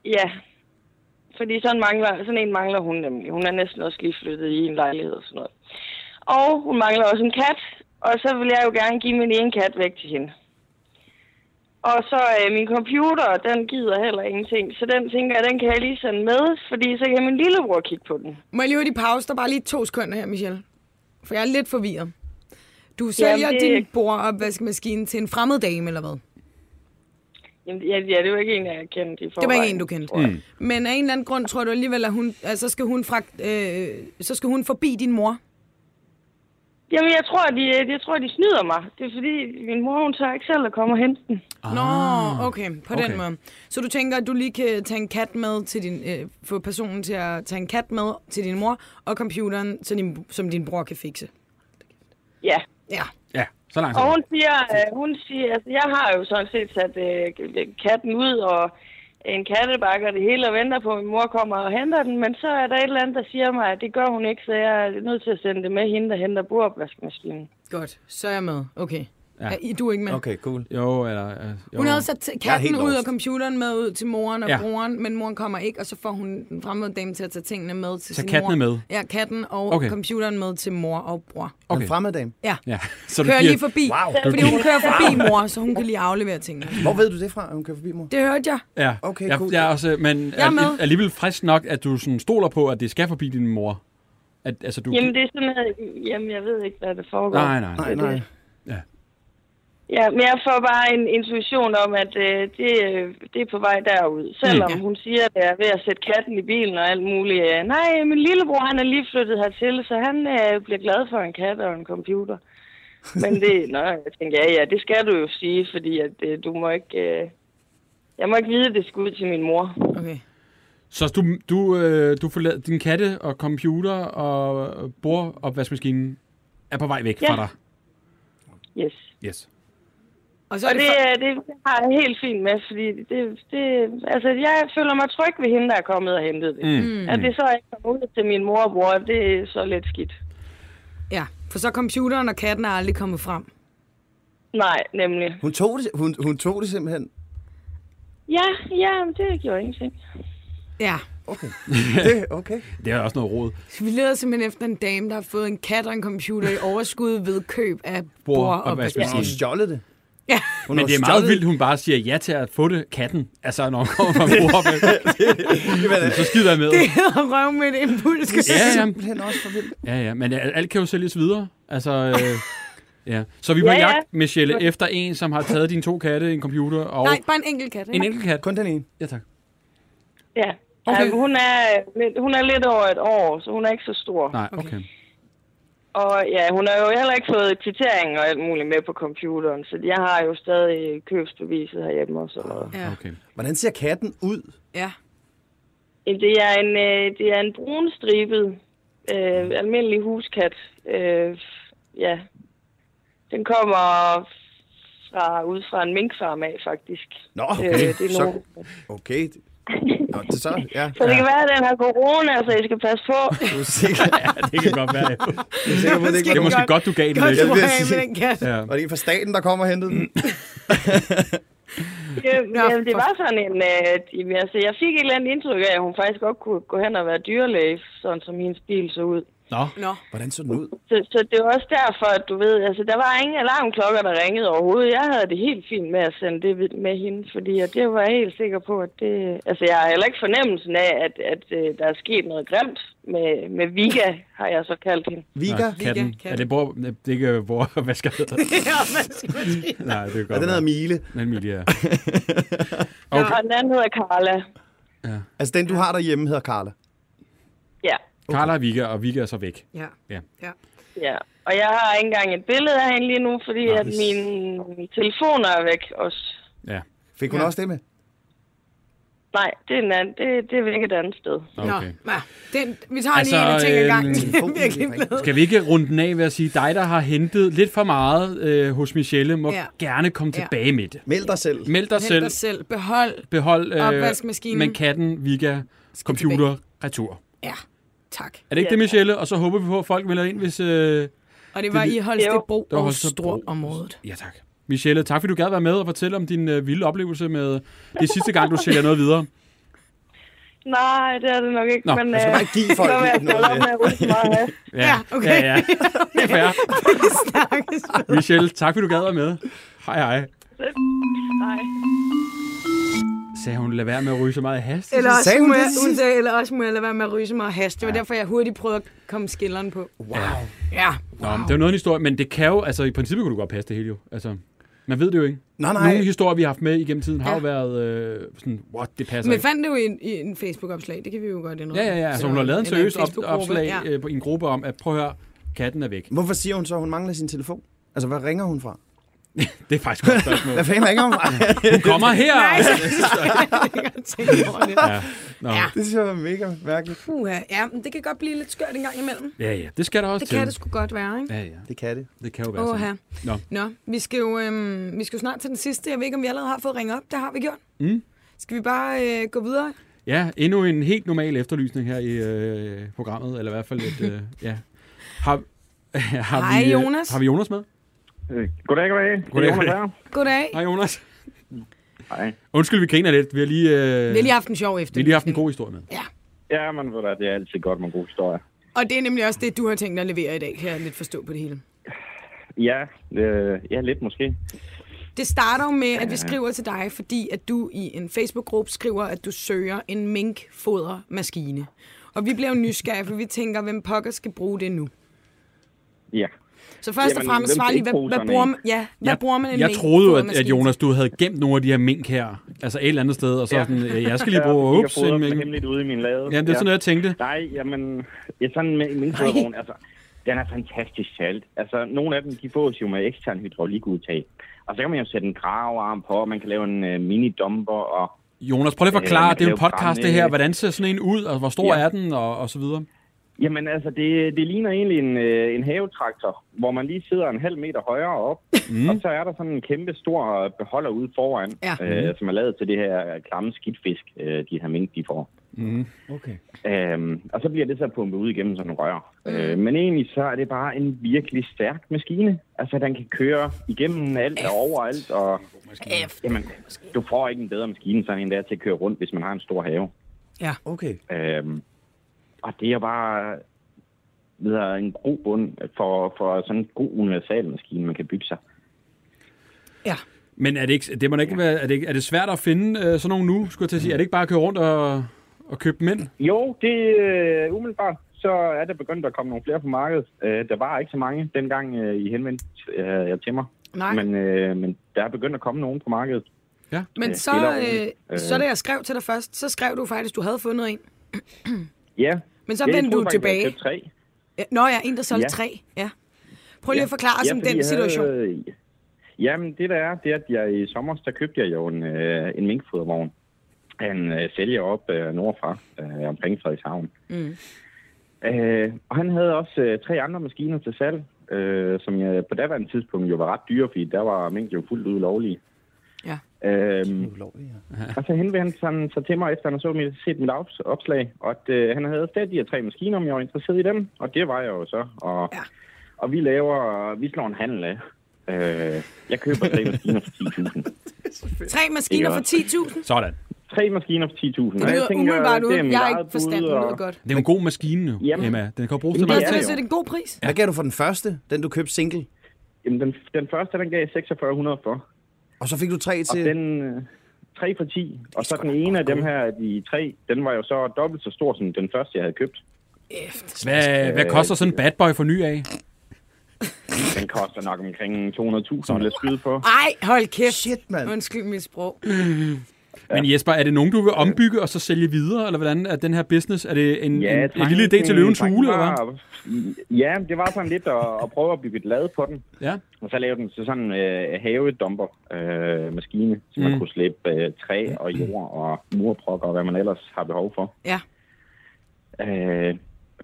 Ja. Fordi sådan, mangler, sådan en mangler hun nemlig. Hun er næsten også lige flyttet i en lejlighed og sådan noget. Og hun mangler også en kat. Og så vil jeg jo gerne give min ene kat væk til hende. Og så øh, min computer, den gider heller ingenting. Så den tænker jeg, den kan jeg lige sende med, fordi så kan min lillebror kigge på den. Må jeg lige hurtigt pause dig bare lige to sekunder her, Michelle? For jeg er lidt forvirret. Du sælger det- Jamen, det... din bordopvaskemaskine til en fremmed dame, eller hvad? Jamen, ja, ja, det var ikke en, jeg kendte i Det forvejen. var ikke en, du kendte. Mm. Men af en eller anden grund tror du alligevel, at hun, altså, skal hun fragt, øh, så skal hun forbi din mor. Jamen, jeg tror, de, øh, jeg tror, de snyder mig. Det er fordi, min mor, hun tør ikke selv at komme og hente den. Nå, okay, på okay. Ah, okay. den måde. Så du tænker, at du lige kan tage en kat med til din, øh, få personen til at tage en kat med til din mor, og computeren, så din, som din bror kan fikse. Ja, Ja, Ja, så langt. så Og godt. hun siger, øh, hun siger altså, jeg har jo sådan set sat øh, katten ud, og en kattebakke og det hele og venter på, at min mor kommer og henter den, men så er der et eller andet, der siger mig, at det gør hun ikke, så jeg er nødt til at sende det med hende, der henter bordopvaskemaskinen. Godt, så er jeg med. Okay. Ja. Ja. Er, du er ikke med? Okay, cool. Jo, eller... øh, Jo. Hun havde sat Jeg er helt katten ud lost. og computeren med ud til moren og Ja. ja. broren, men moren kommer ikke, og så får hun den fremmede dame til at tage tingene med til Så sin katten mor. er med? Ja, katten og Okay. okay. computeren med til mor og bror. Okay. En fremmed dame. Ja. Ja, så du Kører giver... lige forbi, Wow. fordi hun kører forbi mor, så hun kan lige aflevere tingene. Hvor ved du det fra, at hun kører forbi mor? Det hørte jeg. Ja, Okay, jeg, cool. jeg er også, men Jeg er med. er alligevel frisk nok, at du sådan stoler på, at det skal forbi din mor. At, altså, du... Jamen, det er sådan, at, jamen, jeg ved ikke, hvad der foregår. Nej, nej, nej. Nej, nej. Ja, men jeg får bare en intuition om, at øh, det, øh, det er på vej derud. Selvom Mm. hun siger, at jeg er ved at sætte katten i bilen og alt muligt. Øh, nej, min lillebror han er lige flyttet hertil, så han øh, bliver glad for en kat og en computer. Men det, nå, jeg tænker, ja, ja, det skal du jo sige, fordi at, øh, du må ikke... Øh, jeg må ikke vide, at det skal ud til min mor. Okay. Så du, du, øh, du forlader din katte og computer og bordopvaskemaskinen er på vej væk Ja. fra dig. Yes. Yes. Og så Og er det, det, for... øh, det har jeg helt fint med, fordi det, det, altså, jeg føler mig tryg ved hende, der er kommet og hentet det. Mm. At det så ikke kommer ud til min mor og bror, det er så lidt skidt. Ja, for så er computeren og katten er aldrig kommet frem. Nej, nemlig. Hun tog, det, hun, hun tog det simpelthen. Ja, ja, men det gjorde ingenting. Ja. Det, okay. Det er også noget råd. Så vi leder simpelthen efter en dame, der har fået en kat og en computer i overskud ved køb af Bord- bord og og Hun har jo vaskemaskine. vaskemaskine. stjålet det. Ja. Hun har Men det er jo meget stjålet vildt, hun bare siger ja til at få det, katten. Altså, når hun kommer fra bordopvaskemaskinen, så skider jeg med. Det hedder røv med et impuls. Ja, Det er ja. simpelthen også for vildt. Ja, ja, men al- alt kan jo sælges videre. Altså, øh, ja. Så vi er på Ja, ja, ja. jagt, Michelle, efter en, som har taget dine to katte, en computer og Nej, bare en enkelt kat. en enkelt kat. Kun den ene. Ja, tak. Ja. Okay. Okay. Jamen, hun, er, lidt- hun er lidt over et år, så hun er ikke så stor. Nej, okay. Og ja, hun har jo heller ikke fået kvittering og alt muligt med på computeren, så jeg har jo stadig købsbeviset herhjemme og sådan noget. Ja. okay. Hvordan ser katten ud? ja. Jamen, Det er en, øh, det er en brunstribet, øh, almindelig huskat. Øh, ja. Den kommer fra, ud fra en minkfarm af, faktisk. Nå, okay. Øh, det er så, nogle- okay. Nå, det så, ja. Så det kan være, at den har corona, så I skal passe på. Du er sikker, Ja, det kan godt være. du er sikker på, at det ikke Det er var, måske Godt. godt, du gav den Godt, væk. du vil må have sige- med den kat. Ja. var det en fra staten, der kom og hentede Mm. den? Jamen, Nå, Øh, jamen, det for- var sådan en... øh, jamen, altså, jeg fik et eller andet indtryk af, at hun faktisk godt kunne gå hen og være dyrlæge, sådan som hendes bil så ud. Nå, Nå. Hvordan så den ud? Så, så det var også derfor, at du ved, altså der var ingen alarmklokker, der ringede overhovedet. Jeg havde det helt fint med at sende det vid- med hende, fordi at det var jeg helt sikker på, at det... Altså jeg har heller ikke fornemmelsen af, at, at, øh, der er sket noget grimt med, med Vika, har jeg så kaldt hende. Vika? Nå, katten. katten. Er det bor... nej, Det er ikke øh, bor... Hvad skal det? Ja, vaskemaskine. Nej, det er godt. Ja, den hedder Mile. Den Emilie, ja. Okay. Og den anden hedder Carla. Altså, den du har derhjemme hedder Carla. Ja, Carla og Vika, og Vika er så væk. ja. Ja. ja. ja. Og jeg har ikke engang et billede af hende lige nu, fordi at mine telefoner er væk også. Ja, Fik hun Ja. også det med? Nej, det er, en anden, det, det er væk et andet sted. Nå, Nå, okay. ja. Den, vi tager Altså, altså, lige en ting ad gangen. øhm, Det er virkelig blevet. Skal vi ikke runde den af ved at sige, dig, der har hentet lidt for meget øh, hos Michelle, må Ja. gerne komme Ja. tilbage med det. Meld dig selv. Meld dig Hent selv, dig selv. Behold. behold øh, Opvaskemaskinen. men katten, Vika, computer, retur. Ja, tak. Er det ikke Ja, det, tak. Michelle? Og så håber vi på, at folk melder ind, hvis... Øh... Og det var Det- i Holstebro var og Holstebro. Struer-området. Ja, tak. Michelle, tak fordi du gad være med og fortælle om din øh, vilde oplevelse med... Det er sidste gang, du sælger noget videre. Nej, det er det nok ikke. Nå, men, Jeg skal øh, bare ikke give folk så vil jeg noget stille op med. med at ryste meget af. Ja, okay. Ja, ja. Det er fair. Snakkes. Michelle, tak fordi du gad være med. Hej, hej. Nej. Sagde hun, lad være med at ryge så meget hast. Eller også, Sagde hun må det jeg, til hun sidst? sagde, eller også må jeg lade være med at ryge så meget hast. Det var derfor, jeg hurtigt prøvede at komme skilleren på. Wow. Ja, Nå, men det er jo noget af en historie, men det kan jo, altså i princippet kunne du godt passe det hele jo. Altså, man ved det jo ikke. Nej, nej. Nogle historier, vi har haft med igennem tiden, har Ja. jo været øh, sådan, what, det passer men jeg ikke. fandt det jo i en, i en Facebook-opslag. Det kan vi jo godt indrømme. Ja, ja, ja. Så hun har lavet en Eller seriøs op- Facebook-gruppe. opslag Ja. øh, på en gruppe om, at prøv at høre, katten er væk. Hvorfor siger hun så, at hun mangler sin telefon? Altså, hvad ringer hun fra? Det er faktisk et godt spørgsmål. Hvad fanden ringer hun fra? Hun kommer her! Nej, jeg kan godt tænke over det. Ja. Nå. Ja. det synes jeg var mega mærkeligt. Puha. Ja, men det kan godt blive lidt skørt en gang imellem. ja, ja. Det skal der også Det til. kan det sgu godt være, ikke? Ja, ja. Det kan det. Det kan jo være Åh, sådan. her. Nå. Nå, vi skal jo øhm, vi skal jo snart til den sidste. Jeg ved ikke, om vi allerede har fået ringet op. Det har vi gjort. Mm. Skal vi bare øh, gå videre? Ja, endnu en helt normal efterlysning her i øh, programmet, eller i hvert fald et, øh, ja. Har, har Hej, vi, øh, Jonas. Har vi Jonas med? Øh, Goddag, goddag. Det er Goddag, Jonas goddag. her. Goddag. Hej, Jonas. Hej. Undskyld, vi griner lidt. Vi har lige, øh, Vi har lige haft en sjov efter. vi har lige haft en god historie med. Ja, man ved da, det er altid godt med en god historie. Og det er nemlig også det, du har tænkt dig at levere i dag, kan jeg lidt forstå på det hele. Ja, øh, ja lidt måske. Det starter jo med, at vi skriver til dig, fordi at du i en Facebook-gruppe skriver, at du søger en minkfodermaskine. Og vi bliver jo nysgerrige, for vi tænker, hvem pokker skal bruge det nu? Ja. Så først Jamen, og fremmest, hvem svar skal lige, ikke hvad, bruge hvad, sådan bruger en? man, ja, hvad jeg, bruger man en Jeg troede jo, at, at minkfodermaskine Jonas, du havde gemt nogle af de her mink her. Altså et eller andet sted, og så ja. sådan, øh, jeg skal lige bruge, jeg ups, en mink. hemmeligt ude i min lade. Ja, det er sådan noget, jeg tænkte. Nej, jamen, ja, sådan med min fodvogn, altså, den er fantastisk salt. Altså, nogle af dem, de fås jo med ekstern hydraulikudtag. Og så kan man jo sætte en gravearm på, og man kan lave en øh, mini-dumper, og Jonas, prøv lige at Øh, forklare, man det er jo en kan lave podcast, brænde- det her. Hvordan ser sådan en ud, og hvor stor Ja. er den, og, og så videre? Jamen altså, det, det ligner egentlig en, øh, en havetraktor, hvor man lige sidder en halv meter højere op, mm. og så er der sådan en kæmpe stor øh, beholder ude foran, Mhm. Ja. Mhm. øh, som er lavet til det her øh, klamme skidtfisk, øh, de her mink, de får. Mhm. Okay. Øhm, og så bliver det så pumpet ud igennem sådan en rør. Mhm. Øh, men egentlig så er det bare en virkelig stærk maskine. Altså, den kan køre igennem alt og overalt, og F. jamen, du får ikke en bedre maskine sådan en der til at køre rundt, hvis man har en stor have. Okay. Øhm, og det er bare ved at være en god bund for, for sådan en god universalmaskine, man kan bygge sig. Ja. Men er det, ikke, det må da ikke være, er det, ikke- er det svært at finde øh, sådan nogle nu, skulle jeg til Mm. at sige? Er det ikke bare at køre rundt og, og købe dem ind? Jo, det øh, umiddelbart, så er der begyndt at komme nogle flere på markedet. Øh, der var ikke så mange dengang, øh, I henvendte øh, jer til mig. Nej. Men, øh, men der er begyndt at komme nogen på markedet. Men Ja, så, stille og roligt. øh, så da jeg skrev til dig først, så skrev du faktisk, du havde fundet en. Ja, Men så jeg vendte du troede faktisk, at jeg tilbage. købte tre. Ja, Øh, Nå ja, en, der solgte Ja. tre. Ja. Prøv lige at forklare os om fordi den jeg situation. Havde, jamen, det der er, det er, at jeg i sommer, der købte jeg jo en, øh, en minkfodervogn. Han øh, sælger op øh, nordfra, øh, omkring Frederikshavn. Mm. Øh, og han havde også øh, tre andre maskiner til salg, øh, som jeg på daværende tidspunkt jo var ret dyre, fordi der var mink jo fuldt ud lovlige. Ja. Øhm, Ulovligt, ja. og så henvendte han sig- sig til mig, efter han havde så mit, set mit ops- opslag, og at øh, han havde stadig de her tre maskiner, om jeg var interesseret i dem, og det var jeg jo så. Og, Ja. ja. og vi laver, vi slår en handel af. Øh, jeg køber tre maskiner for 10.000. Tre maskiner for Ikke 10.000. Sådan. Tre maskiner for 10.000. Det og jeg lyder tænker, umiddelbart ud. det er mit Jeg har eget ikke forstand, bud, men det og- lyder godt. Det er jo en god maskine jo, Jamen. Emma. Den kan jo bruges til Jamen, meget det Så er ting. det er det en god pris. Hvad gav du for den første, den du købte single? Jamen, den, den første, den gav jeg 4600 for. Og så fik du tre Og til... den... Øh, 3 for 10. Og så den ene af dem her, af de tre, den var jo så dobbelt så stor som den første, jeg havde købt. Øh, Hvad, hvad koster sådan en bad boy for ny af? Den koster nok omkring 200.000, vil jeg skyde på. Ej, hold kæft. Shit, mand. Undskyld mit sprog. Men Jesper, er det nogen, du vil ombygge og så sælge videre? Eller hvordan er den her business? Er det en, ja, en, en tanken- lille idé til løvens tanken hule, eller hvad? var- Ja, det var sådan lidt at, at prøve at bygge et lad på den. Ja. Og så lave den til sådan en øh, havedumper-maskine, øh, maskine, så man Mm. kunne slippe øh, træ og jord og murprokker og hvad man ellers har behov for. Ja. Øh,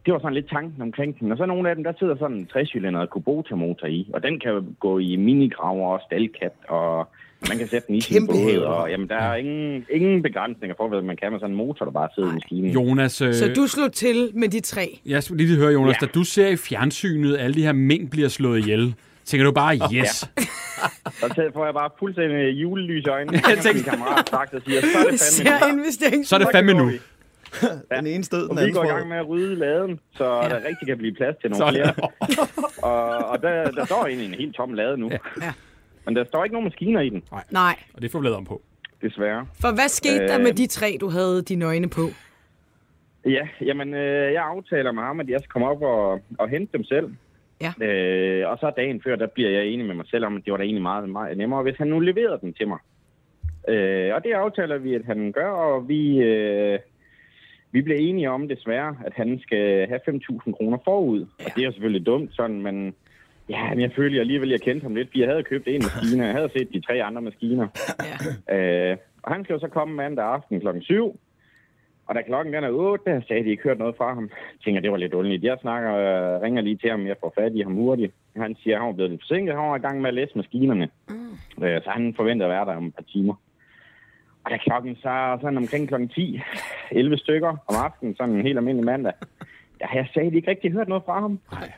det var sådan lidt tanken omkring den. Og så nogle af dem, der sidder sådan en trecylindret Kubota-motor i. Og den kan jo gå i minigraver og stalkat, og man kan sætte den i sin Kæmpe båd. haver. Og, jamen, der er ingen, ingen begrænsninger for, hvad man kan med sådan en motor, der bare sidder i maskinen. Jonas, øh, Så du slog til med de tre. jeg skulle lige høre, Jonas, ja. Ja. da du ser i fjernsynet, alle de her mink bliver slået ihjel, tænker du bare, yes. Og så får jeg bare fuldstændig julelys i øjnene. Jeg Jeg tænkte- tænkte... Min kammerat sagt og siger, så er det fandme Ser investering. Så er det fandme nu. Den ene stød, Og den vi anden går i sprød. gang med at rydde laden, så ja. der rigtig kan blive plads til nogle Sådan. flere. Og, og der, der står egentlig en helt tom lade nu. Ja. Men der står ikke nogen maskiner i den, Nej, Og det får vi lavet om på. desværre. for hvad skete der Øh. med de tre, du havde de nøgne på? Ja, jamen, øh, jeg aftaler med ham, at jeg skal komme op og, og hente dem selv. Ja. Øh, og så dagen før, der bliver jeg enig med mig selv om, at det var da egentlig meget, meget nemmere, hvis han nu leverede den til mig. Øh, og det aftaler vi, at han gør, og vi, øh, vi bliver enige om desværre, at han skal have 5.000 kroner forud. Ja. Og det er jo selvfølgelig dumt, sådan, men ja, men jeg følte alligevel, jeg kendte ham lidt, fordi jeg havde købt en maskine, og jeg havde set de tre andre maskiner. Ja. Øh, og han skal jo så komme mandag aften klokken 7. Og da klokken den er 8, der sagde de ikke hørt noget fra ham. Jeg tænker, det var lidt underligt. Jeg snakker, øh, ringer lige til ham, jeg får fat i ham hurtigt. Han siger, at han var blevet lidt forsinket, han var i gang med at læse maskinerne. Mm. Øh, så han forventer at være der om et par timer. Ja, klokken så sådan omkring klokken 10, 11 stykker om aftenen, sådan en helt almindelig mandag. Der har jeg sagde ikke rigtig hørt noget fra ham. Nej.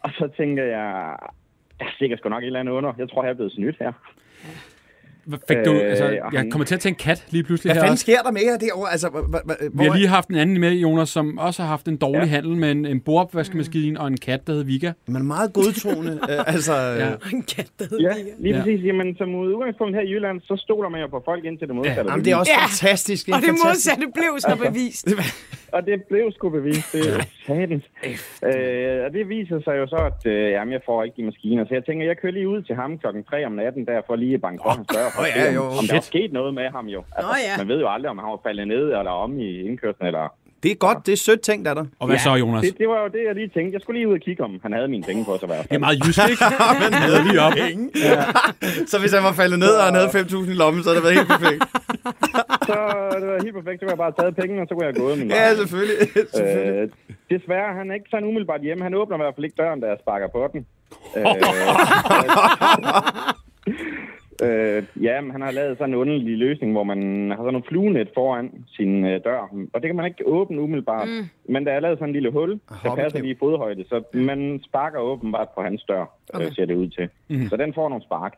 Og så tænker jeg, der er sikkert sgu nok et eller andet under. Jeg tror, jeg er blevet snydt her. Hvad Fik du, Øh, altså, og jeg han- kommer til at tænke kat lige pludselig Hvad her. fanden også. sker der med jer derovre? Altså, hva- hva- hva- Vi har hvor- lige haft en anden med, Jonas, som også har haft en dårlig Ja. Mm. handel med en, en bordopvaskemaskine og en kat, der hed Vika. Man er meget godtroende. øh, altså, ja. En kat, der hedder Ja, Vika. lige Ja. ja. præcis. Jamen, som udgangspunkt her i Jylland, så stoler man jo på folk indtil det modsatte. Jamen, det er også Ja. ja. fantastisk. Og det fantastisk. modsatte blev Altså. så bevist. Og det blev sgu bevist. Det er satans. øh, og det viser sig jo så, at øh, jamen, jeg får ikke de maskiner. Så jeg tænker, jeg kører lige ud til ham klokken 3 om natten, der for lige at banke på hans dør. For åh, at ja, se, om- jo. om der er sket noget med ham jo. Altså, ja. Man ved jo aldrig, om han var faldet ned eller om i indkørslen. Eller... Det er godt. Det er sødt tænkt af dig. Og hvad ja, så, Altså- Jonas? Det, det, var jo det, jeg lige tænkte. Jeg skulle lige ud og kigge, om han havde mine penge på sig. Det er meget jysk, ikke? Han havde lige op. Så hvis han var faldet ned, og han havde 5.000 i lommen, så havde det været helt perfekt. Så det var helt perfekt. Så kunne jeg bare have taget pengene, og så kunne jeg have gået min vej. Ja, selvfølgelig. selvfølgelig. Øh, desværre, han er ikke sådan umiddelbart hjemme. Han åbner i hvert fald ikke døren, da jeg sparker på den. Øh, øh, ja, men han har lavet sådan en underlig løsning, hvor man har sådan nogle fluenet foran sin øh, dør. Og det kan man ikke åbne umiddelbart. Mm. Men der er lavet sådan en lille hul, der passer hoppekniv. lige i fodhøjde. Så man sparker åbenbart på hans dør, okay. øh, ser det ud til. Mm. Så den får nogle spark.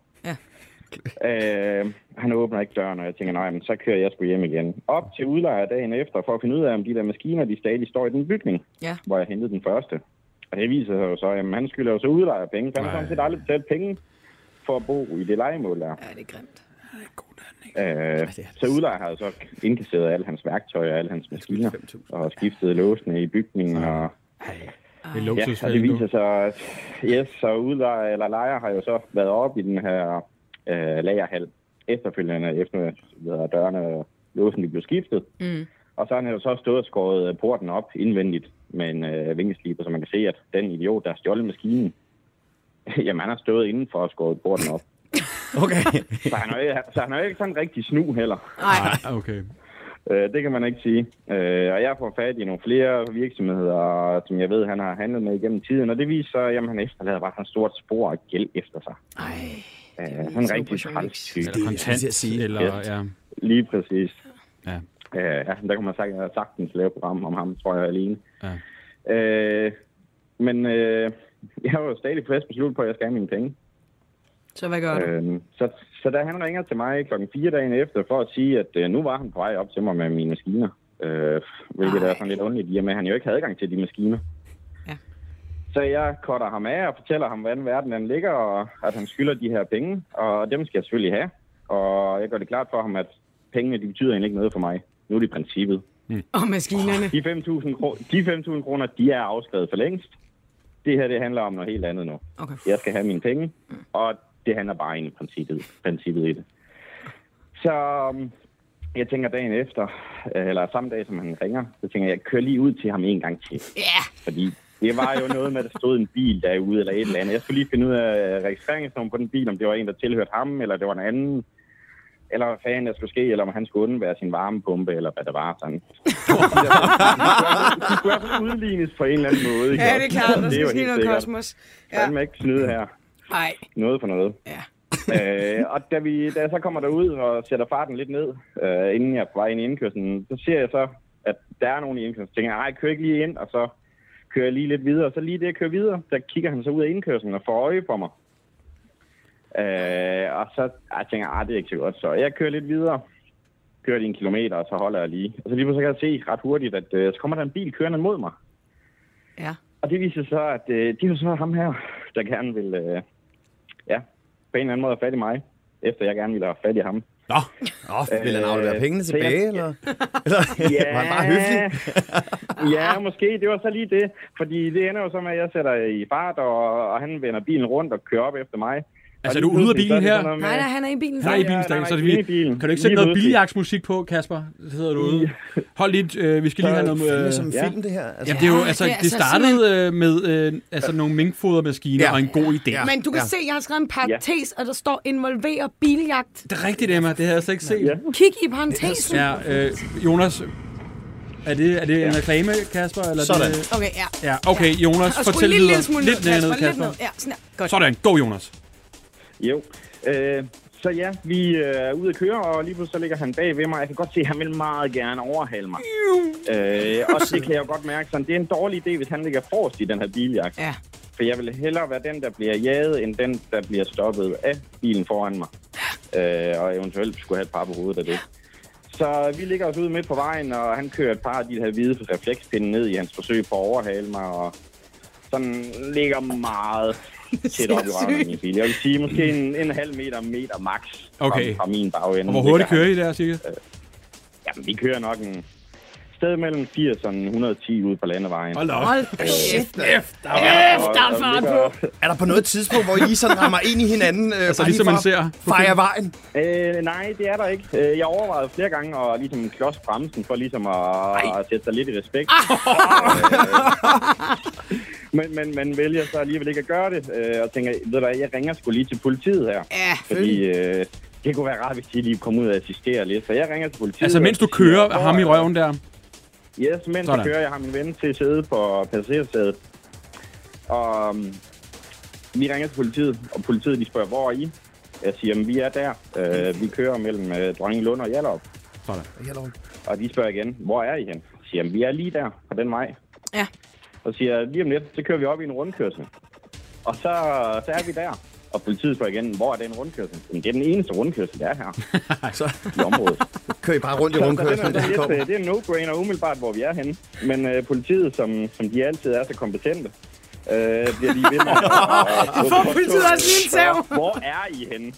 Øh, han åbner ikke døren, og jeg tænker, nej, men så kører jeg sgu hjem igen. Op til udlejer dagen efter, for at finde ud af, om de der maskiner, de stadig står i den bygning, Ja. hvor jeg hentede den første. Og det viser sig jo så, at han skylder jo så udlejer penge, for han har sådan set aldrig betalt penge for at bo i det legemål der. Ja, det er grimt. Øh, så udlejer har jo så indkasseret alle hans værktøj og alle hans maskiner, og skiftet låsene i bygningen, og Det er Ja, og det luksusfælden, viser du. sig, at yes, så udlejer eller lejer har jo så været oppe i den her øh, lagerhal efterfølgende, efter at dørene og låsen de blev skiftet. Mm. Og så har han jo så stået og skåret øh, porten op indvendigt med en øh, vingesliber, så man kan se, at den idiot, der har stjålet maskinen, jamen han har stået indenfor og skåret porten op. Okay. Så han er jo, så han er jo ikke sådan rigtig snu heller. Nej, Ah, Okay. Øh, det kan man ikke sige. Øh, og jeg får fat i nogle flere virksomheder, som jeg ved, han har handlet med igennem tiden. Og det viser sig, at han efterlader bare sådan et stort spor af gæld efter sig. Ej, øh, han er en rigtig træls type. Eller kontant, til at sige. eller... Yes. Ja. Lige præcis. Ja. Øh, ja, der kunne man sagtens, sagtens lave et program om ham, tror jeg, alene. Ja. Øh, men øh, jeg var jo stadig fast besluttet på, at jeg skal have mine penge. så hvad gør du? Øhm, så, så da han ringer til mig klokken 4 dagen efter for at sige, at øh, nu var han på vej op til mig med mine maskiner, øh, hvilket er sådan lidt underligt, i og med at han jo ikke havde adgang til de maskiner. Ja. Så jeg cutter ham af og fortæller ham, hvordan verden den ligger, og at han skylder de her penge, og dem skal jeg selvfølgelig have. Og jeg gør det klart for ham, at pengene de betyder egentlig ikke noget for mig. Nu er det princippet. Og maskinerne. De 5.000 kro- de 5.000 kroner, de er afskrevet for længst. Det her, det handler om noget helt andet nu. Okay. Jeg skal have mine penge, og det handler bare egentlig om princippet, princippet i det. Så um, jeg tænker dagen efter, øh, eller samme dag, som han ringer, så tænker jeg, jeg kører lige ud til ham en gang til. Ja, yeah. Fordi det var jo noget med, at der stod en bil derude, eller et eller andet. Jeg skulle lige finde ud af øh, registreringsnummeret på den bil, om det var en, der tilhørte ham, eller det var en anden. Eller hvad fanden der skulle ske, eller om han skulle undvære sin varmepumpe, eller hvad der var sådan. De der- de skulle i hvert fald udlignes på en eller anden måde. ikke? ja det er klart. Der Det er skal jo ske helt noget sikkert. kosmos. Ja. Ja. Fandme ikke snyde her. Nej, Noget for noget. ja. øh, og da, vi, da jeg så kommer derud og sætter farten lidt ned, øh, inden jeg er på vej ind i indkørslen, så ser jeg så, at der er nogen i indkørslen. Så tænker jeg, nej, kør ikke lige ind, og så kører jeg lige lidt videre. Og så lige det, jeg kører videre, der kigger han så ud af indkørslen og får øje på mig. Øh, og så ej, jeg tænker jeg, det er ikke så godt. Så jeg kører lidt videre, kører lige en kilometer, og så holder jeg lige. Og så lige pludselig kan jeg se ret hurtigt, at øh, så kommer der en bil kørende mod mig. Ja. Og det viser så, at øh, det er jo så ham her, der gerne vil, øh, ja, på en eller anden måde have fat i mig, efter jeg gerne ville have fat i ham. Nå, Nå vil han Øh, aflevere pengene så jeg- tilbage, eller? eller var han bare høflig? ja, måske. Det var så lige det. Fordi det ender jo så med, at jeg sætter i fart, og, og han vender bilen rundt og kører op efter mig. Altså, Og er du lige ude af pludselig, så bilen det her? sådan noget med- Nej, nej, han er i bilen. Nej, i bilen, nej, Stange, nej, så er det inde i vildt. bilen. Kan du ikke Lige sætte noget pludselig. billigsmusik på, Kasper? Så sidder du ude. Hold lige, øh, vi skal lige have noget... Det Øh, er som en Ja. film, det her. Altså, Jamen, det, er jo, altså, det er det altså startede øh, med øh, altså, nogle minkfodermaskiner Ja. og en god idé. Ja. Men du kan Ja. se, jeg har skrevet en parentes, og der står involverer biljagt. Det er rigtigt, Emma. Det havde jeg slet ikke set. Ja. Kig i parentesen. Ja, øh, Jonas, er det, er det en reklame, Kasper? Eller er Sådan. Det, Okay, ja. ja, okay, Jonas, Og skru fortæl en lille, lille videre. smule Lidt ned, ned, Kasper. Kasper. Lidt ned. Ja, sådan der. Godt. Sådan, go Jonas. Jo. Øh, Så ja, vi øh, er ude at køre, og lige pludselig så ligger han bag ved mig. Jeg kan godt se, at han vil meget gerne overhale mig. Øh, og det kan jeg jo godt mærke. Sådan, det er en dårlig idé, hvis han ligger forrest i den her biljagt. Ja. For jeg vil hellere være den, der bliver jaget, end den, der bliver stoppet af bilen foran mig. Øh, og eventuelt skulle have et par på hovedet af det. Så vi ligger os ude midt på vejen, og han kører et par af de her hvide reflekspinde ned i hans forsøg på at overhale mig. Og sådan ligger meget tæt op i røven af min bil. Jeg vil sige, måske en, en halv meter, meter max Okay. fra, fra min bagende. Og hvor hurtigt ligger han. kører I der, cirka? Jamen, vi kører nok en sted mellem 80 og 110 ude på landevejen. Hold da op. Hold da kæft. Efter. Kæft, der er fart på. Er der på noget tidspunkt, hvor I sådan rammer ind i hinanden? Øh, altså, ligesom man ser på Fejre vejen. Øh, nej, det er der ikke. Øh, Jeg overvejede flere gange at ligesom klods bremsen for ligesom at, at sætte sig lidt i respekt. Ah. Øh, men, men man vælger så alligevel ikke at gøre det, øh, og tænker, ved du hvad, jeg ringer sgu lige til politiet her. Ja, Fordi øh, det kunne være rart, hvis de lige kom ud og assisterer lidt. Så jeg ringer til politiet. Altså, mens du og siger, kører "Hvor ham i er- røven der. Yes, mens Sådan. jeg kører, jeg har min ven til at sidde på passagersædet. Og um, vi ringer til politiet, og politiet de spørger, hvor er I? Jeg siger, "Jamen, vi er der. Uh, vi kører mellem uh, Dronninglund og Hjallerup. Sådan. Og de spørger igen, hvor er I hen? Jeg siger, "Jamen, vi er lige der på den vej. Ja. Og siger, jeg, lige om lidt, så kører vi op i en rundkørsel. Og så, så er vi der. Og politiet spørger igen, hvor er den rundkørsel? Jamen, det er den eneste rundkørsel, der er her i området. Kører I bare rundt i rundkørslen, Så da det, de er, kommer? lidt, øh, det er en no-brainer umiddelbart, hvor vi er henne. Men øh, politiet, som, som de altid er så kompetente, øh, bliver lige ved med at... at- Får politiet også lige en tæv? Hvor er I henne?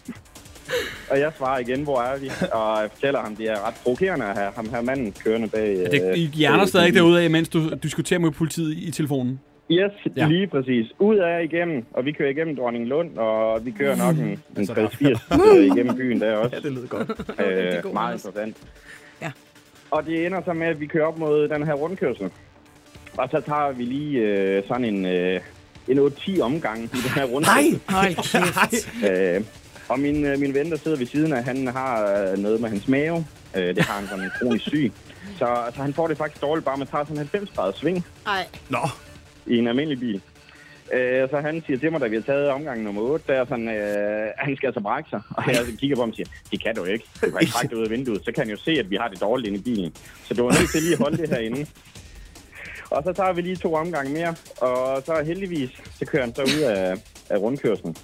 Og jeg svarer igen, hvor er vi? Og jeg fortæller ham, det er ret provokerende at have ham her manden kørende bag... Øh, Det, I hjerner bag- stadig derude, mens du diskuterer med politiet i telefonen. Yes, Ja. ja. lige præcis. Ud af igennem, og vi kører igennem Dronning Lund, og vi kører nok Mm. en, en 80 igennem byen der også. Ja, det lyder godt. rigtig god Øh, meget Anders. interessant. Ja. Og det ender så med, at vi kører op mod den her rundkørsel. Og så tager vi lige øh, sådan en, øh, en 8-10 omgang i den her rundkørsel. Hold kæft. Nej! Øh, og min, øh, min ven, der sidder ved siden af, han har øh, noget med hans mave. Øh, det har han som en kronisk syg. Så, så han får det faktisk dårligt, bare man tager sådan en 90-grader sving Ej. Nå, i en almindelig bil. Øh, så han siger til mig, da vi har taget omgang nummer 8, der er sådan, øh, han skal altså brække sig. Og jeg kigger på ham og siger, det kan du ikke. Du kan ikke brække dig ud af vinduet. Så kan han jo se, at vi har det dårligt inde i bilen. Så du er nødt til lige at holde det herinde. Og så tager vi lige to omgange mere. Og så heldigvis, så kører han så ud af, af rundkørslen.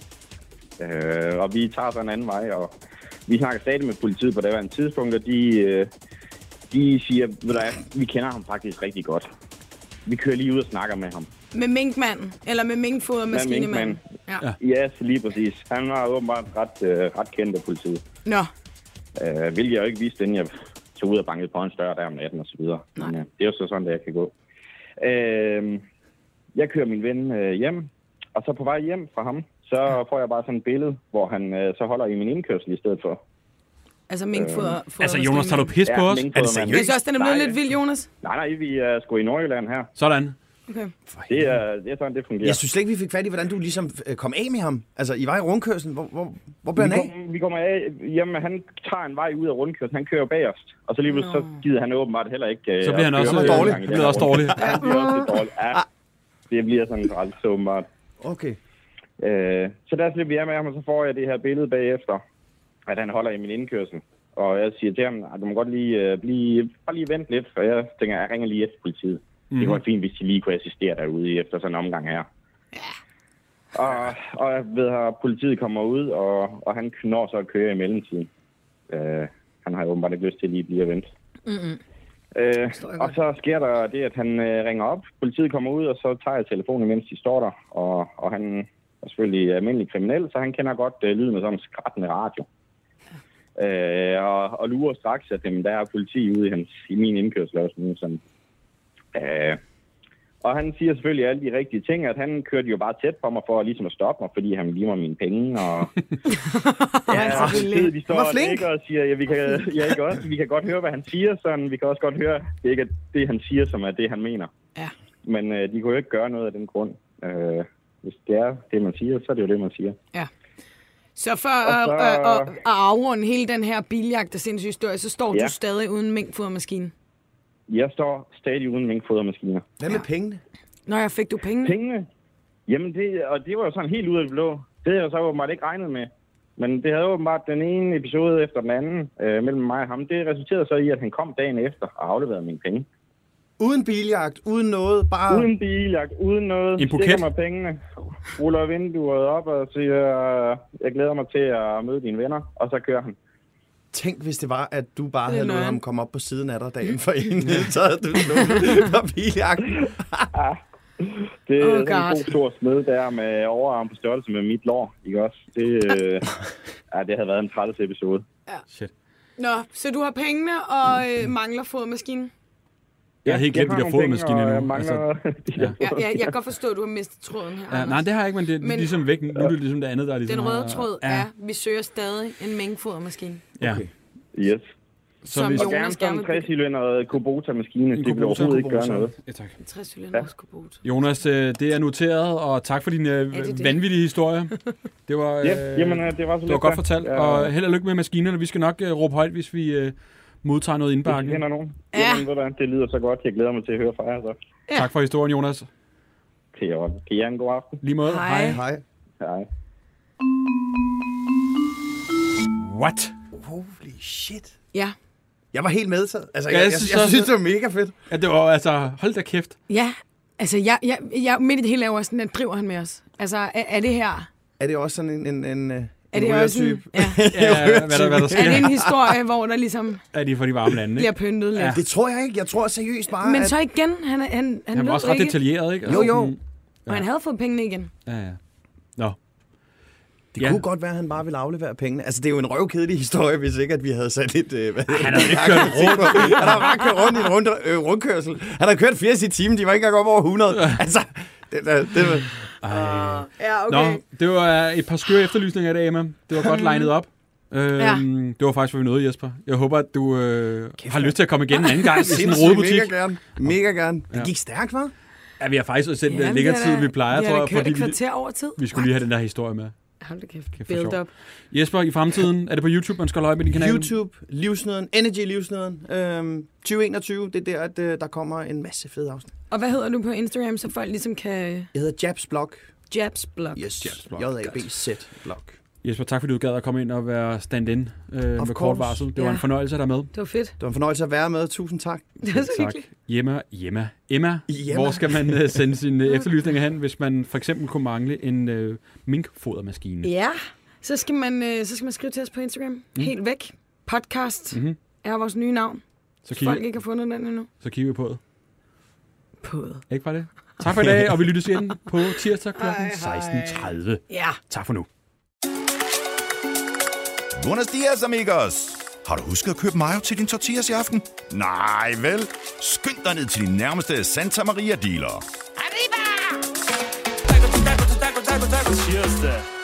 Øh, og vi tager så en anden vej, og vi snakker stadig med politiet på det her tidspunkt, og de, øh, de siger, ved du hvad, vi kender ham faktisk rigtig godt. Vi kører lige ud og snakker med ham. Med minkmanden. Eller med minkfoder Med maskinemanden. Ja. Ja, yes, lige præcis. Han var åbenbart ret, øh, ret kendt af politiet. Nå. Øh, hvilket jeg jo ikke vidste, inden jeg tog ud og bankede på en dør der om natten og så videre. Nej. Men, øh, det er jo så sådan, det jeg kan gå. Øh, jeg kører min ven øh, hjem, og så på vej hjem fra ham, så får jeg bare sådan et billede, hvor han øh, så holder i min indkørsel i stedet for. Altså minkfoder. Øh. Altså, Jonas, tager du pis på os? minkfodermanden. Er det seriøst? Jeg synes også, den er blevet Øhm. Nej. lidt vild, Jonas. Nej, nej, vi er sgu i Nordjylland her. Sådan. Okay. Det er, det er sådan, det fungerer. jeg synes slet ikke, vi fik fat i, hvordan du ligesom øh, kom af med ham. Altså, I var i rundkørslen. Hvor, hvor, hvor blev han vi, af? kom, vi kommer af. Jamen, han tager en vej ud af rundkørslen. Han kører bagerst. Og så lige pludselig, så gider han åbenbart heller ikke... øh, Så bliver han at køre også, med øh, den dårlig. gang i Han den bliver her også rundkørsel. dårlig. Ja, han bliver også lidt dårlig. Ja, det bliver sådan ret så meget. Okay. Øh, så der slipper jeg med ham, og så får jeg det her billede bagefter, at han holder i min indkørsel. Og jeg siger til ham, at du må godt lige, øh, blive, bare lige vente lidt, for jeg tænker, jeg ringer lige efter politiet. Mm-hmm. Det kunne være fint, hvis de lige kunne assistere derude efter sådan en omgang her. Og, og jeg ved, at politiet kommer ud, og, og han når så at køre i mellemtiden. Øh, han har jo åbenbart ikke lyst til lige at blive og vente. Øh, og så sker der det, at han øh, ringer op, politiet kommer ud, og så tager jeg telefonen, mens de står der. Og, og han er selvfølgelig almindelig kriminel, så han kender godt øh, lyden af sådan en skrattende radio. Øh, og, og lurer straks, at jamen, der er politi ude i, hans, i min indkørsel også nu. Sådan. Øh, og han siger selvfølgelig alle de rigtige ting, at han kørte jo bare tæt på mig for ligesom at stoppe mig, fordi han giver mig mine penge. Og, ja, selvfølgelig. og vi står Han var og flink. nikker og siger, ja, vi kan, ja, ikke også, vi kan godt høre, hvad han siger, sådan vi kan også godt høre, det er ikke det, han siger, som er det, han mener. Ja. Men øh, de kunne jo ikke gøre noget af den grund. Øh, hvis det er det, man siger, så er det jo det, man siger. Så for at, Og så- at, at, at afrunde hele den her biljagt og sindssyge historie, så står Ja. du stadig uden minkfodermaskine. Jeg står stadig uden minkfodermaskiner. Hvad med pengene? Nå, jeg fik du penge. Pengene, jamen det, og det var jo sådan helt ud af det blå. Det havde jeg så åbenbart ikke regnet med. Men det havde åbenbart den ene episode efter den anden øh, mellem mig og ham. Det resulterede så i, at han kom dagen efter og afleverede mine penge. Uden biljagt, uden noget, bare... Uden biljagt, uden noget. En buket? Stikker mig pengene, ruller vinduet op og siger, jeg glæder mig til at møde dine venner. Og så kører han. Tænk, hvis det var, at du bare Det er Mm. havde lavet løgn. ham komme op på siden af dig dagen for inden, så havde du nået på biljagten. Det er Oh, oh, sådan God. en god stor smed der med overarm på størrelse med mit lår, ikke også? Det, øh, ja, det havde været en træls episode. Shit. Nå, så du har pengene og Mm. øh, mangler fodmaskinen? Jeg har helt glemt, har at de der nogle penge, fodmaskiner og nu. jeg Mangler altså, de der Ja, ja, jeg kan godt forstå, at du har mistet tråden her, Ja, Anders. nej, det har jeg ikke, men det er Men- ligesom væk. Nu er det ligesom det andet, der er ligesom... Den røde har- tråd ja. er, at vi søger stadig en mængdefodermaskine, Ja. Yes. som hvis- Og gerne Jonas sådan gerne en vil bygge. 60 Kubota-maskine. Det vil Kubota, overhovedet ikke gøre Kubota. noget. Ja, tak. 60 cylinders kubot. Jonas, øh, det er noteret, og tak for din øh, Ja, det er det. vanvittige historie. Det var, øh, Ja, jamen, øh, det øh, var så det var godt fortalt, og held og lykke med maskinerne. Vi skal nok øh, råbe højt, hvis vi øh, modtager noget Bakken. indbakken. Kender nogen? Ja. Ja. Jamen, ved du, hvad, det lyder så godt. Jeg glæder mig til at høre fra jer. Så. Tak for historien, Jonas. Til jer. også. Kan I have en god aften? Lige måde. Hej. Hej. Hej. What? Holy shit. Ja. Jeg var helt medtaget. Altså, Ja, jeg, jeg jeg, jeg, synes jeg også- synes, det var mega fedt. Ja, det var altså... Hold da kæft. Ja, altså jeg, jeg, jeg midt i det hele er jo også sådan, at driver han med os. Altså, er, er det her... Er det også sådan en, en, en, øh, en Er det også en, rygertype? ja. Ja, hvad, der, hvad der er det sker. en historie, hvor der ligesom Er de for de varme lande, bliver ikke? pyntet lidt? Det tror jeg ikke. Jeg tror seriøst bare, Men at... så igen, han, er- han, han, Han var lød også ret ikke, detaljeret, ikke? Jo, jo. sådan- og han havde fået pengene igen. Ja, ja. Nå. Det kunne godt være, at han bare ville aflevere pengene. Altså, det er jo en røvkedelig historie, hvis ikke, at vi havde sat et... Øh, hvad han havde ikke kørt rundt. han har bare kørt rundt i en rund, øh, rundkørsel. Han har kørt 80 i timen. De var ikke engang op over 100. Altså, det, det, det var... Ja, Nå, det var øh, et par skøre efterlysninger i dag, Emma. Det var godt legnet op. Øhm, Ja. Det var faktisk, hvad vi nåede, Jesper. Jeg håber, at du øh, har lyst til at komme igen en anden gang i sådan en rodebutik. Mega gerne. Mega gerne. Det gik stærkt, hva'? Ja, vi har faktisk også sendt ja, længere øh, tid, end vi plejer, tror jeg, fordi fordi et vi, kvarter over tid. vi skulle lige have den der historie med. Hold da kæft, Kæft, for build sjov. up. Jesper, i fremtiden, er det på YouTube, man skal holde øje med din kanal? YouTube, Livsnøden, Energy Livsnøden. Øhm, 2021, det er der, at, øh, der kommer en masse fede afsnit. Og hvad hedder du på Instagram, så folk ligesom kan Jeg hedder Jabs Blog. jabs blog? Yes, Jabs Jabs Blog. Blog. J-A-B-Z Blog. Jesper, tak fordi du gad at komme ind og være stand-in øh, med kort course. varsel. Det var Ja. en fornøjelse at have dig med. Det var fedt. Det var en fornøjelse at være med. Tusind tak. Det var så hyggeligt. Hjemme, hjemme. Emma, Hjemme. hvor skal man øh, sende sine øh, efterlysninger hen, hvis man for eksempel kunne mangle en øh, minkfodermaskine? Ja, så skal man, øh, så skal man skrive til os på Instagram. Mm. Helt væk. Podcast mm-hmm. er vores nye navn. Så Folk kigger, ikke har fundet den endnu. så kigger vi på det. På. Ikke bare det? Tak for i dag, og vi lyttes igen på tirsdag kl. 16.30. Ja. Tak for nu. Buenos dias, amigos! Har du husket at købe mayo til din tortillas i aften? Nej, vel? Skynd dig ned til din nærmeste Santa Maria-dealer. Taco, taco, taco, taco, taco, taco, cheers da.